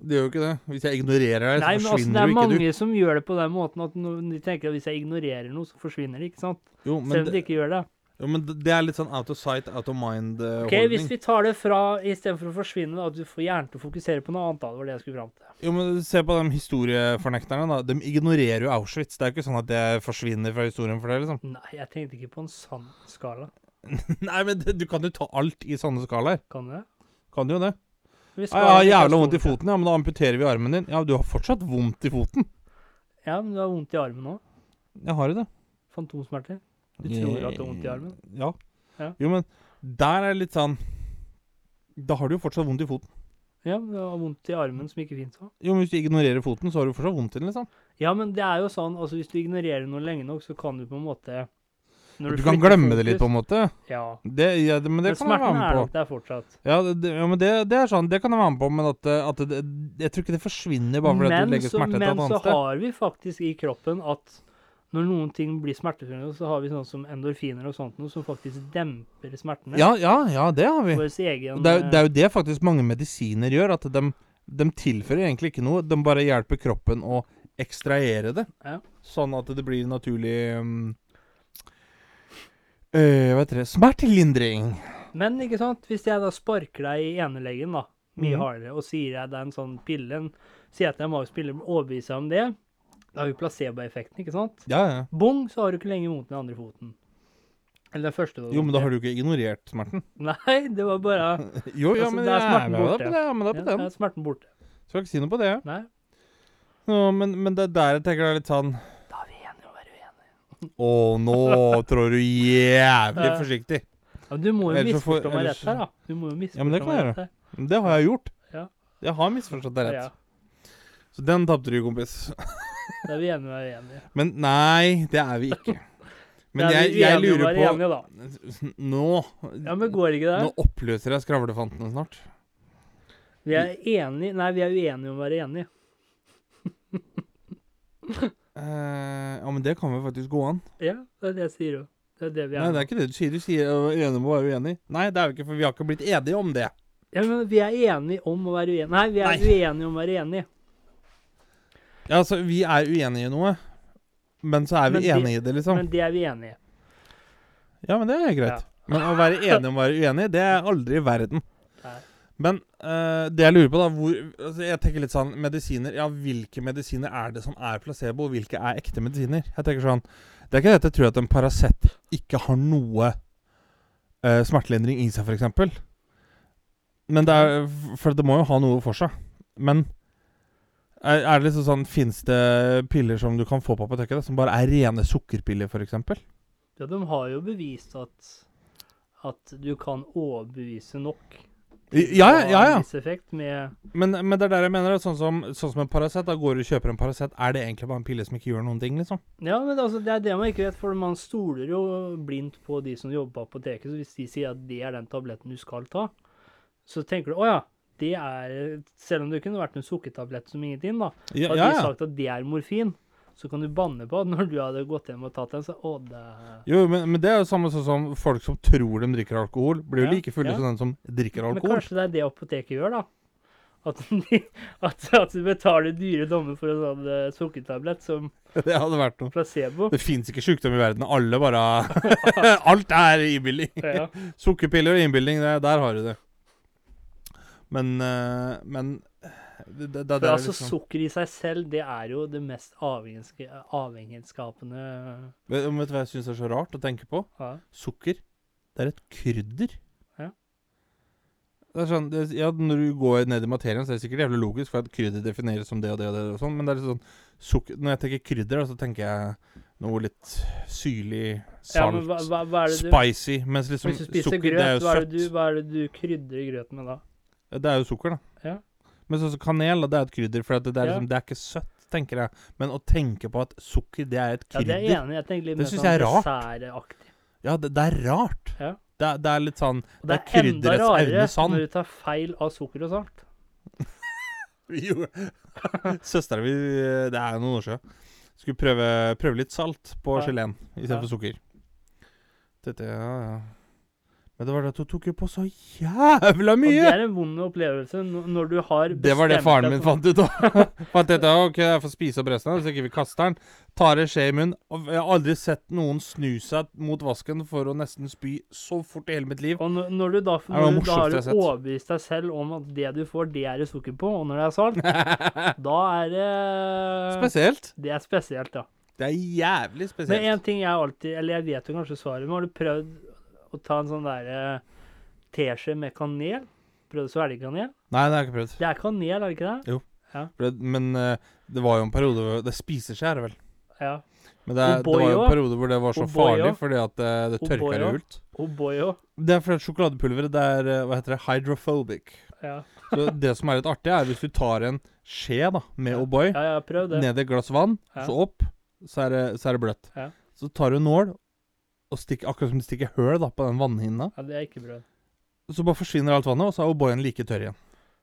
[SPEAKER 1] Det gjør jo ikke det. Hvis jeg ignorerer deg,
[SPEAKER 2] Nei,
[SPEAKER 1] så
[SPEAKER 2] men altså, Det
[SPEAKER 1] forsvinner
[SPEAKER 2] er
[SPEAKER 1] jo ikke du.
[SPEAKER 2] mange som gjør det på den måten at no- de tenker at hvis jeg ignorerer noe, så forsvinner det. ikke sant?
[SPEAKER 1] Jo,
[SPEAKER 2] Selv
[SPEAKER 1] men,
[SPEAKER 2] om de
[SPEAKER 1] det,
[SPEAKER 2] ikke gjør det.
[SPEAKER 1] jo, men det er litt sånn out of sight, out of mind-holdning.
[SPEAKER 2] Ok, Hvis vi tar det fra istedenfor å forsvinne, da, at du får hjernen til å fokusere på noe annet. da, Det var det jeg skulle fram til.
[SPEAKER 1] Jo, men Se på de historiefornekterne. da. De ignorerer jo Auschwitz. Det er jo ikke sånn at det forsvinner fra historien for det, liksom.
[SPEAKER 2] Nei, jeg tenkte ikke på en sann skala.
[SPEAKER 1] Nei, men det, du kan jo ta alt i sånne skalaer.
[SPEAKER 2] Kan du det?
[SPEAKER 1] Kan du jo det.
[SPEAKER 2] Vi
[SPEAKER 1] Ja, jeg har
[SPEAKER 2] ikke ha
[SPEAKER 1] jævla vondt i
[SPEAKER 2] stor-
[SPEAKER 1] foten, ja, men da amputerer vi armen din. Ja, du har fortsatt vondt i foten.
[SPEAKER 2] Ja, men du har vondt i armen òg.
[SPEAKER 1] Jeg har jo det.
[SPEAKER 2] Fantomsmerter. Du tror at du har vondt i armen?
[SPEAKER 1] Ja.
[SPEAKER 2] Ja.
[SPEAKER 1] Jo, men der er det litt sånn Da har du jo fortsatt vondt i foten.
[SPEAKER 2] Ja, men du har vondt i armen som ikke fins òg.
[SPEAKER 1] Jo, men hvis du ignorerer foten, så har du fortsatt vondt i den, liksom.
[SPEAKER 2] Ja, men det er jo sånn, altså hvis du ignorerer noe lenge nok, så kan du på en måte når
[SPEAKER 1] Du kan
[SPEAKER 2] flytter
[SPEAKER 1] glemme det litt, på
[SPEAKER 2] fokus-
[SPEAKER 1] en måte.
[SPEAKER 2] Ja.
[SPEAKER 1] Det, ja, det, men det kan jeg være
[SPEAKER 2] men smerten
[SPEAKER 1] med
[SPEAKER 2] er
[SPEAKER 1] på.
[SPEAKER 2] nok der fortsatt.
[SPEAKER 1] Ja, det, det- ja men det, det er sånn, det kan jeg være med på, men at, at det, jeg tror ikke det forsvinner bare fordi at du
[SPEAKER 2] Men,
[SPEAKER 1] legger
[SPEAKER 2] så,
[SPEAKER 1] smerte et
[SPEAKER 2] men
[SPEAKER 1] annet
[SPEAKER 2] så
[SPEAKER 1] sted.
[SPEAKER 2] har vi faktisk i kroppen at når noen ting blir smertefulle, så har vi sånn som endorfiner og sånt noe som faktisk demper smertene.
[SPEAKER 1] Ja, ja, ja, det har vi.
[SPEAKER 2] Vår egen
[SPEAKER 1] Og Det er, jo- det er
[SPEAKER 2] eh,
[SPEAKER 1] jo det faktisk mange medisiner gjør, at de, tilfører egentlig ikke noe. De bare hjelper kroppen å ekstrahere det,
[SPEAKER 2] Ja.
[SPEAKER 1] sånn at det blir naturlig um, øh, Hva heter det Smertelindring.
[SPEAKER 2] Men ikke sant, hvis jeg da sparker deg i eneleggen da, mye
[SPEAKER 1] Mhm.
[SPEAKER 2] hardere, og sier jeg det er en sånn pille, en- sier jeg at det er en magisk pille, overbeviser deg om det, da har vi placeboeffekten, ikke sant?
[SPEAKER 1] Ja, ja.
[SPEAKER 2] Bong, så har du ikke lenger vondt i den andre foten. Eller den første.
[SPEAKER 1] Jo, men da har du ikke ignorert smerten.
[SPEAKER 2] Nei, det var bare
[SPEAKER 1] Jo, ja,
[SPEAKER 2] Altså,
[SPEAKER 1] men
[SPEAKER 2] det er
[SPEAKER 1] jeg
[SPEAKER 2] smerten
[SPEAKER 1] med deg
[SPEAKER 2] borte.
[SPEAKER 1] på det. Ja, men det er
[SPEAKER 2] ja,
[SPEAKER 1] på den.
[SPEAKER 2] da er smerten borte.
[SPEAKER 1] Skal ikke si noe på det.
[SPEAKER 2] Nei,
[SPEAKER 1] Nå, men, men det er der jeg tenker det er litt sånn
[SPEAKER 2] da er vi enige om å være uenige.
[SPEAKER 1] Å, nå trår du jævlig
[SPEAKER 2] Ja.
[SPEAKER 1] forsiktig.
[SPEAKER 2] Ja, men du må jo
[SPEAKER 1] Ellers så får-
[SPEAKER 2] misforstå meg
[SPEAKER 1] ellers
[SPEAKER 2] rett her, da. Du må jo misforstå
[SPEAKER 1] Ja, men det kan
[SPEAKER 2] meg
[SPEAKER 1] jeg
[SPEAKER 2] rett her.
[SPEAKER 1] Det har jeg gjort.
[SPEAKER 2] Ja.
[SPEAKER 1] Jeg har misforstått deg
[SPEAKER 2] Ja,
[SPEAKER 1] rett. Så den tapte du, kompis.
[SPEAKER 2] da er vi enige om å være uenige.
[SPEAKER 1] Men nei, det er vi ikke. Men
[SPEAKER 2] Da er
[SPEAKER 1] jeg,
[SPEAKER 2] vi
[SPEAKER 1] jeg
[SPEAKER 2] uenige om å
[SPEAKER 1] lurer
[SPEAKER 2] være
[SPEAKER 1] på
[SPEAKER 2] enige, da.
[SPEAKER 1] Nå
[SPEAKER 2] Ja, men går ikke det?
[SPEAKER 1] Nå oppløser jeg skravlefantene snart.
[SPEAKER 2] Vi er enige Nei, vi er uenige om å være enige.
[SPEAKER 1] Eh, ja, men det kan vel faktisk gå an.
[SPEAKER 2] Ja, det er det jeg sier jo. Det er det vi er.
[SPEAKER 1] Nei, det er ikke det du sier. Du sier å være enig med å være uenig. Nei, det er jo ikke, for vi har ikke blitt enige om det.
[SPEAKER 2] Ja, men vi er enige om å være uenige. Nei, vi er
[SPEAKER 1] Nei.
[SPEAKER 2] uenige om å være enige.
[SPEAKER 1] Ja, altså, vi er uenige i noe, men så er vi
[SPEAKER 2] Men det-
[SPEAKER 1] enige i det, liksom.
[SPEAKER 2] Men det er vi enige i.
[SPEAKER 1] ja, men det er greit.
[SPEAKER 2] Ja.
[SPEAKER 1] Men å være enig om å være uenig, det er aldri i verden.
[SPEAKER 2] Nei.
[SPEAKER 1] Men eh, det jeg lurer på, da hvor, altså, Jeg tenker litt sånn Medisiner Ja, hvilke medisiner er det som er placebo, og hvilke er ekte medisiner? Jeg tenker sånn Det er ikke det at jeg tror at en Paracet ikke har noe eh, smertelindring i seg, f.eks. Men det er For det må jo ha noe for seg. Men er, er det liksom sånn Fins det piller som du kan få på apoteket, da, som bare er rene sukkerpiller, f.eks.?
[SPEAKER 2] Ja, de har jo bevist at at du kan overbevise nok.
[SPEAKER 1] Ja, ja, ja. ja.
[SPEAKER 2] Viss effekt med
[SPEAKER 1] Men, men det er der jeg mener det. Sånn som, sånn som en Paracet. Da går du og kjøper en Paracet. Er det egentlig bare en pille som ikke gjør noen ting, liksom?
[SPEAKER 2] Ja, men altså, det er det man ikke vet, for man stoler jo blindt på de som jobber på apoteket. Så hvis de sier at det er den tabletten du skal ta, så tenker du å ja, det er Selv om det kunne vært en sukkertablett som ingenting, da.
[SPEAKER 1] Ja,
[SPEAKER 2] Hadde
[SPEAKER 1] ja,
[SPEAKER 2] de
[SPEAKER 1] ja.
[SPEAKER 2] sagt at det er morfin, så kan du banne på at når du hadde gått hjem og tatt den, så å, det er
[SPEAKER 1] Jo, men, men det er jo samme sånn som folk som tror de drikker alkohol, blir jo
[SPEAKER 2] Ja,
[SPEAKER 1] like fulle
[SPEAKER 2] ja.
[SPEAKER 1] som den som drikker
[SPEAKER 2] Men
[SPEAKER 1] alkohol.
[SPEAKER 2] kanskje det er det apoteket gjør, da. At, de, at, at du betaler dyre dommer for en sånn eh, sukkertablett som
[SPEAKER 1] Det hadde vært noe.
[SPEAKER 2] placebo.
[SPEAKER 1] Det fins ikke sykdom i verden. Alle bare Alt er innbilning.
[SPEAKER 2] Ja.
[SPEAKER 1] Sukkerpiller og innbilning, det, der har du det. Men eh, Men det, det, det,
[SPEAKER 2] For
[SPEAKER 1] det er
[SPEAKER 2] altså,
[SPEAKER 1] liksom
[SPEAKER 2] sukker i seg selv, det er jo det mest avhengigske- avhengighetsskapende
[SPEAKER 1] Vet vet du hva jeg syns er så rart å tenke på?
[SPEAKER 2] ja.
[SPEAKER 1] Sukker, det er et krydder.
[SPEAKER 2] Ja.
[SPEAKER 1] Det er sånn, det, ja, Når du går ned i materien, så er det sikkert jævlig logisk, for at krydder defineres som det og det og det. og sånn, Men det er litt sånn, sukker- når jeg tenker krydder, da, så tenker jeg noe litt syrlig,
[SPEAKER 2] Ja,
[SPEAKER 1] salt,
[SPEAKER 2] men hva, hva, hva er det du
[SPEAKER 1] spicy. Mens liksom
[SPEAKER 2] Hvis du spiser
[SPEAKER 1] sukker, det er
[SPEAKER 2] grøt,
[SPEAKER 1] jo
[SPEAKER 2] hva er,
[SPEAKER 1] søtt.
[SPEAKER 2] det du, hva er det du krydrer grøten med da?
[SPEAKER 1] Det er jo sukker, da.
[SPEAKER 2] Ja.
[SPEAKER 1] Men sånn som kanel, da, det er et krydder. For at det, det, er
[SPEAKER 2] Ja.
[SPEAKER 1] liksom, det er ikke søtt, tenker jeg. Men å tenke på at sukker, det er et
[SPEAKER 2] Ja, det
[SPEAKER 1] krydder
[SPEAKER 2] er jeg enig. i. Jeg tenker litt
[SPEAKER 1] Det
[SPEAKER 2] mer
[SPEAKER 1] synes
[SPEAKER 2] sånn
[SPEAKER 1] jeg er rart.
[SPEAKER 2] dessertaktig.
[SPEAKER 1] Ja, det, det er rart.
[SPEAKER 2] Ja.
[SPEAKER 1] Det, er- det er litt sånn
[SPEAKER 2] Og det
[SPEAKER 1] Det er
[SPEAKER 2] er enda
[SPEAKER 1] krydderets
[SPEAKER 2] rarere
[SPEAKER 1] Aune Sand.
[SPEAKER 2] når du tar feil av sukker og salt.
[SPEAKER 1] Jo. Søstera mi eh, Det er jo noen år siden. Skulle prøve, prøve litt salt på
[SPEAKER 2] Ja.
[SPEAKER 1] geleen
[SPEAKER 2] Ja.
[SPEAKER 1] istedenfor for sukker. Dette, ja, ja. Men det var det at hun tok jo på så jævla
[SPEAKER 2] Og det
[SPEAKER 1] mye!
[SPEAKER 2] er en vond opplevelse når når du har
[SPEAKER 1] Det var det
[SPEAKER 2] bestemt
[SPEAKER 1] faren
[SPEAKER 2] deg
[SPEAKER 1] min
[SPEAKER 2] for-
[SPEAKER 1] fant ut òg. fant ut, ja, ok, jeg får spise opp resten av den, så ikke vi kaster den. Tar en skje i munnen. og Jeg har aldri sett noen snu seg mot vasken for å nesten spy så fort i hele mitt liv.
[SPEAKER 2] Og når, når du da,
[SPEAKER 1] det
[SPEAKER 2] når du da
[SPEAKER 1] morsomste
[SPEAKER 2] har
[SPEAKER 1] jeg har sett.
[SPEAKER 2] overbevist deg selv om at det du får, det er det sukker på, og når det er salt, da er det
[SPEAKER 1] Spesielt.
[SPEAKER 2] Det er spesielt, ja.
[SPEAKER 1] Det er jævlig
[SPEAKER 2] eh, Men
[SPEAKER 1] spesielt.
[SPEAKER 2] en ting jeg alltid Eller jeg vet jo kanskje svaret, men har du prøvd å ta en sånn derre teskje med kanel? Prøvd å svelge kanel?
[SPEAKER 1] Nei, det har jeg ikke prøvd.
[SPEAKER 2] Det er kanel, er det ikke det?
[SPEAKER 1] For det- Men eh, det var jo en periode hvor Det spiser seg, er det vel.
[SPEAKER 2] Ja.
[SPEAKER 1] Men det, er- det var jo
[SPEAKER 2] O'boy
[SPEAKER 1] en
[SPEAKER 2] også.
[SPEAKER 1] periode hvor det var så
[SPEAKER 2] O'boy
[SPEAKER 1] farlig
[SPEAKER 2] også.
[SPEAKER 1] fordi at eh, det, det
[SPEAKER 2] O'boy
[SPEAKER 1] tørka
[SPEAKER 2] også.
[SPEAKER 1] jo ut.
[SPEAKER 2] Oboyo.
[SPEAKER 1] Det er fordi at sjokoladepulveret det er eh, Hva heter det? Hydrophobic.
[SPEAKER 2] Ja.
[SPEAKER 1] Så det som er litt artig, er hvis du tar en skje da med
[SPEAKER 2] Ja.
[SPEAKER 1] O'boy
[SPEAKER 2] ja, jeg har prøvd det.
[SPEAKER 1] ned i et glass vann,
[SPEAKER 2] Ja.
[SPEAKER 1] så opp, så er det, så er det bløtt.
[SPEAKER 2] Ja.
[SPEAKER 1] Så tar du en nål og stikker akkurat som du stikker høl da på den vannhinna.
[SPEAKER 2] Ja, det er ikke prøvd.
[SPEAKER 1] Så bare forsvinner alt vannet, og så er O'boyen like tørr igjen.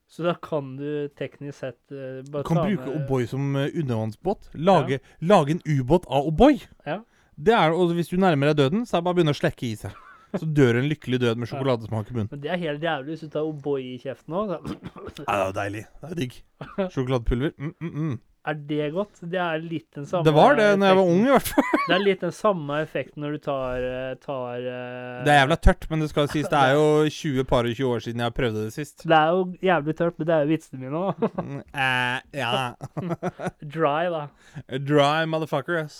[SPEAKER 2] Så da kan du teknisk sett eh,
[SPEAKER 1] Du
[SPEAKER 2] bare
[SPEAKER 1] kan
[SPEAKER 2] ta
[SPEAKER 1] bruke
[SPEAKER 2] med-
[SPEAKER 1] O'boy som eh, undervannsbåt. Lage, lage en ubåt av O'boy.
[SPEAKER 2] Ja.
[SPEAKER 1] Det er, og hvis du nærmer deg døden, så er det bare å begynne å slekke i seg. Så dør en lykkelig død med sjokoladesmak i munnen.
[SPEAKER 2] Men det er helt jævlig hvis du tar O'boy i kjeften òg.
[SPEAKER 1] Ja, det er deilig. Det er digg. Sjokoladepulver. Mm, mm, mm.
[SPEAKER 2] Er det godt? Det er litt den samme
[SPEAKER 1] Det var det da jeg var
[SPEAKER 2] effekten.
[SPEAKER 1] ung, i hvert fall.
[SPEAKER 2] Det er litt den samme effekten når du tar, eh, tar eh,
[SPEAKER 1] Det er jævla tørt, men det skal sies det er jo 20 par og 20 år siden jeg prøvde det sist.
[SPEAKER 2] Det er jo jævlig tørt, men det er jo vitsene mine òg.
[SPEAKER 1] Mm, eh, ja.
[SPEAKER 2] Dry, da.
[SPEAKER 1] A Dry motherfucker, ass.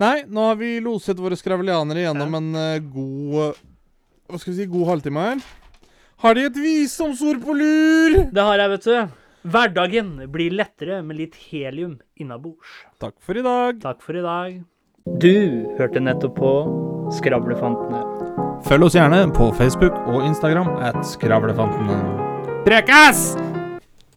[SPEAKER 1] Nei, nå har vi loset våre skravelianere gjennom
[SPEAKER 2] Ja.
[SPEAKER 1] en eh, god eh, Hva skal vi si, god halvtime her. Har de et visdomsord på lur?
[SPEAKER 2] Det har jeg, vet du. Hverdagen blir lettere med litt helium innabords.
[SPEAKER 1] Takk for i dag.
[SPEAKER 2] Takk for i dag. Du hørte nettopp på Skravlefantene.
[SPEAKER 1] Følg oss gjerne på Facebook og Instagram at Skravlefantene. Prekas!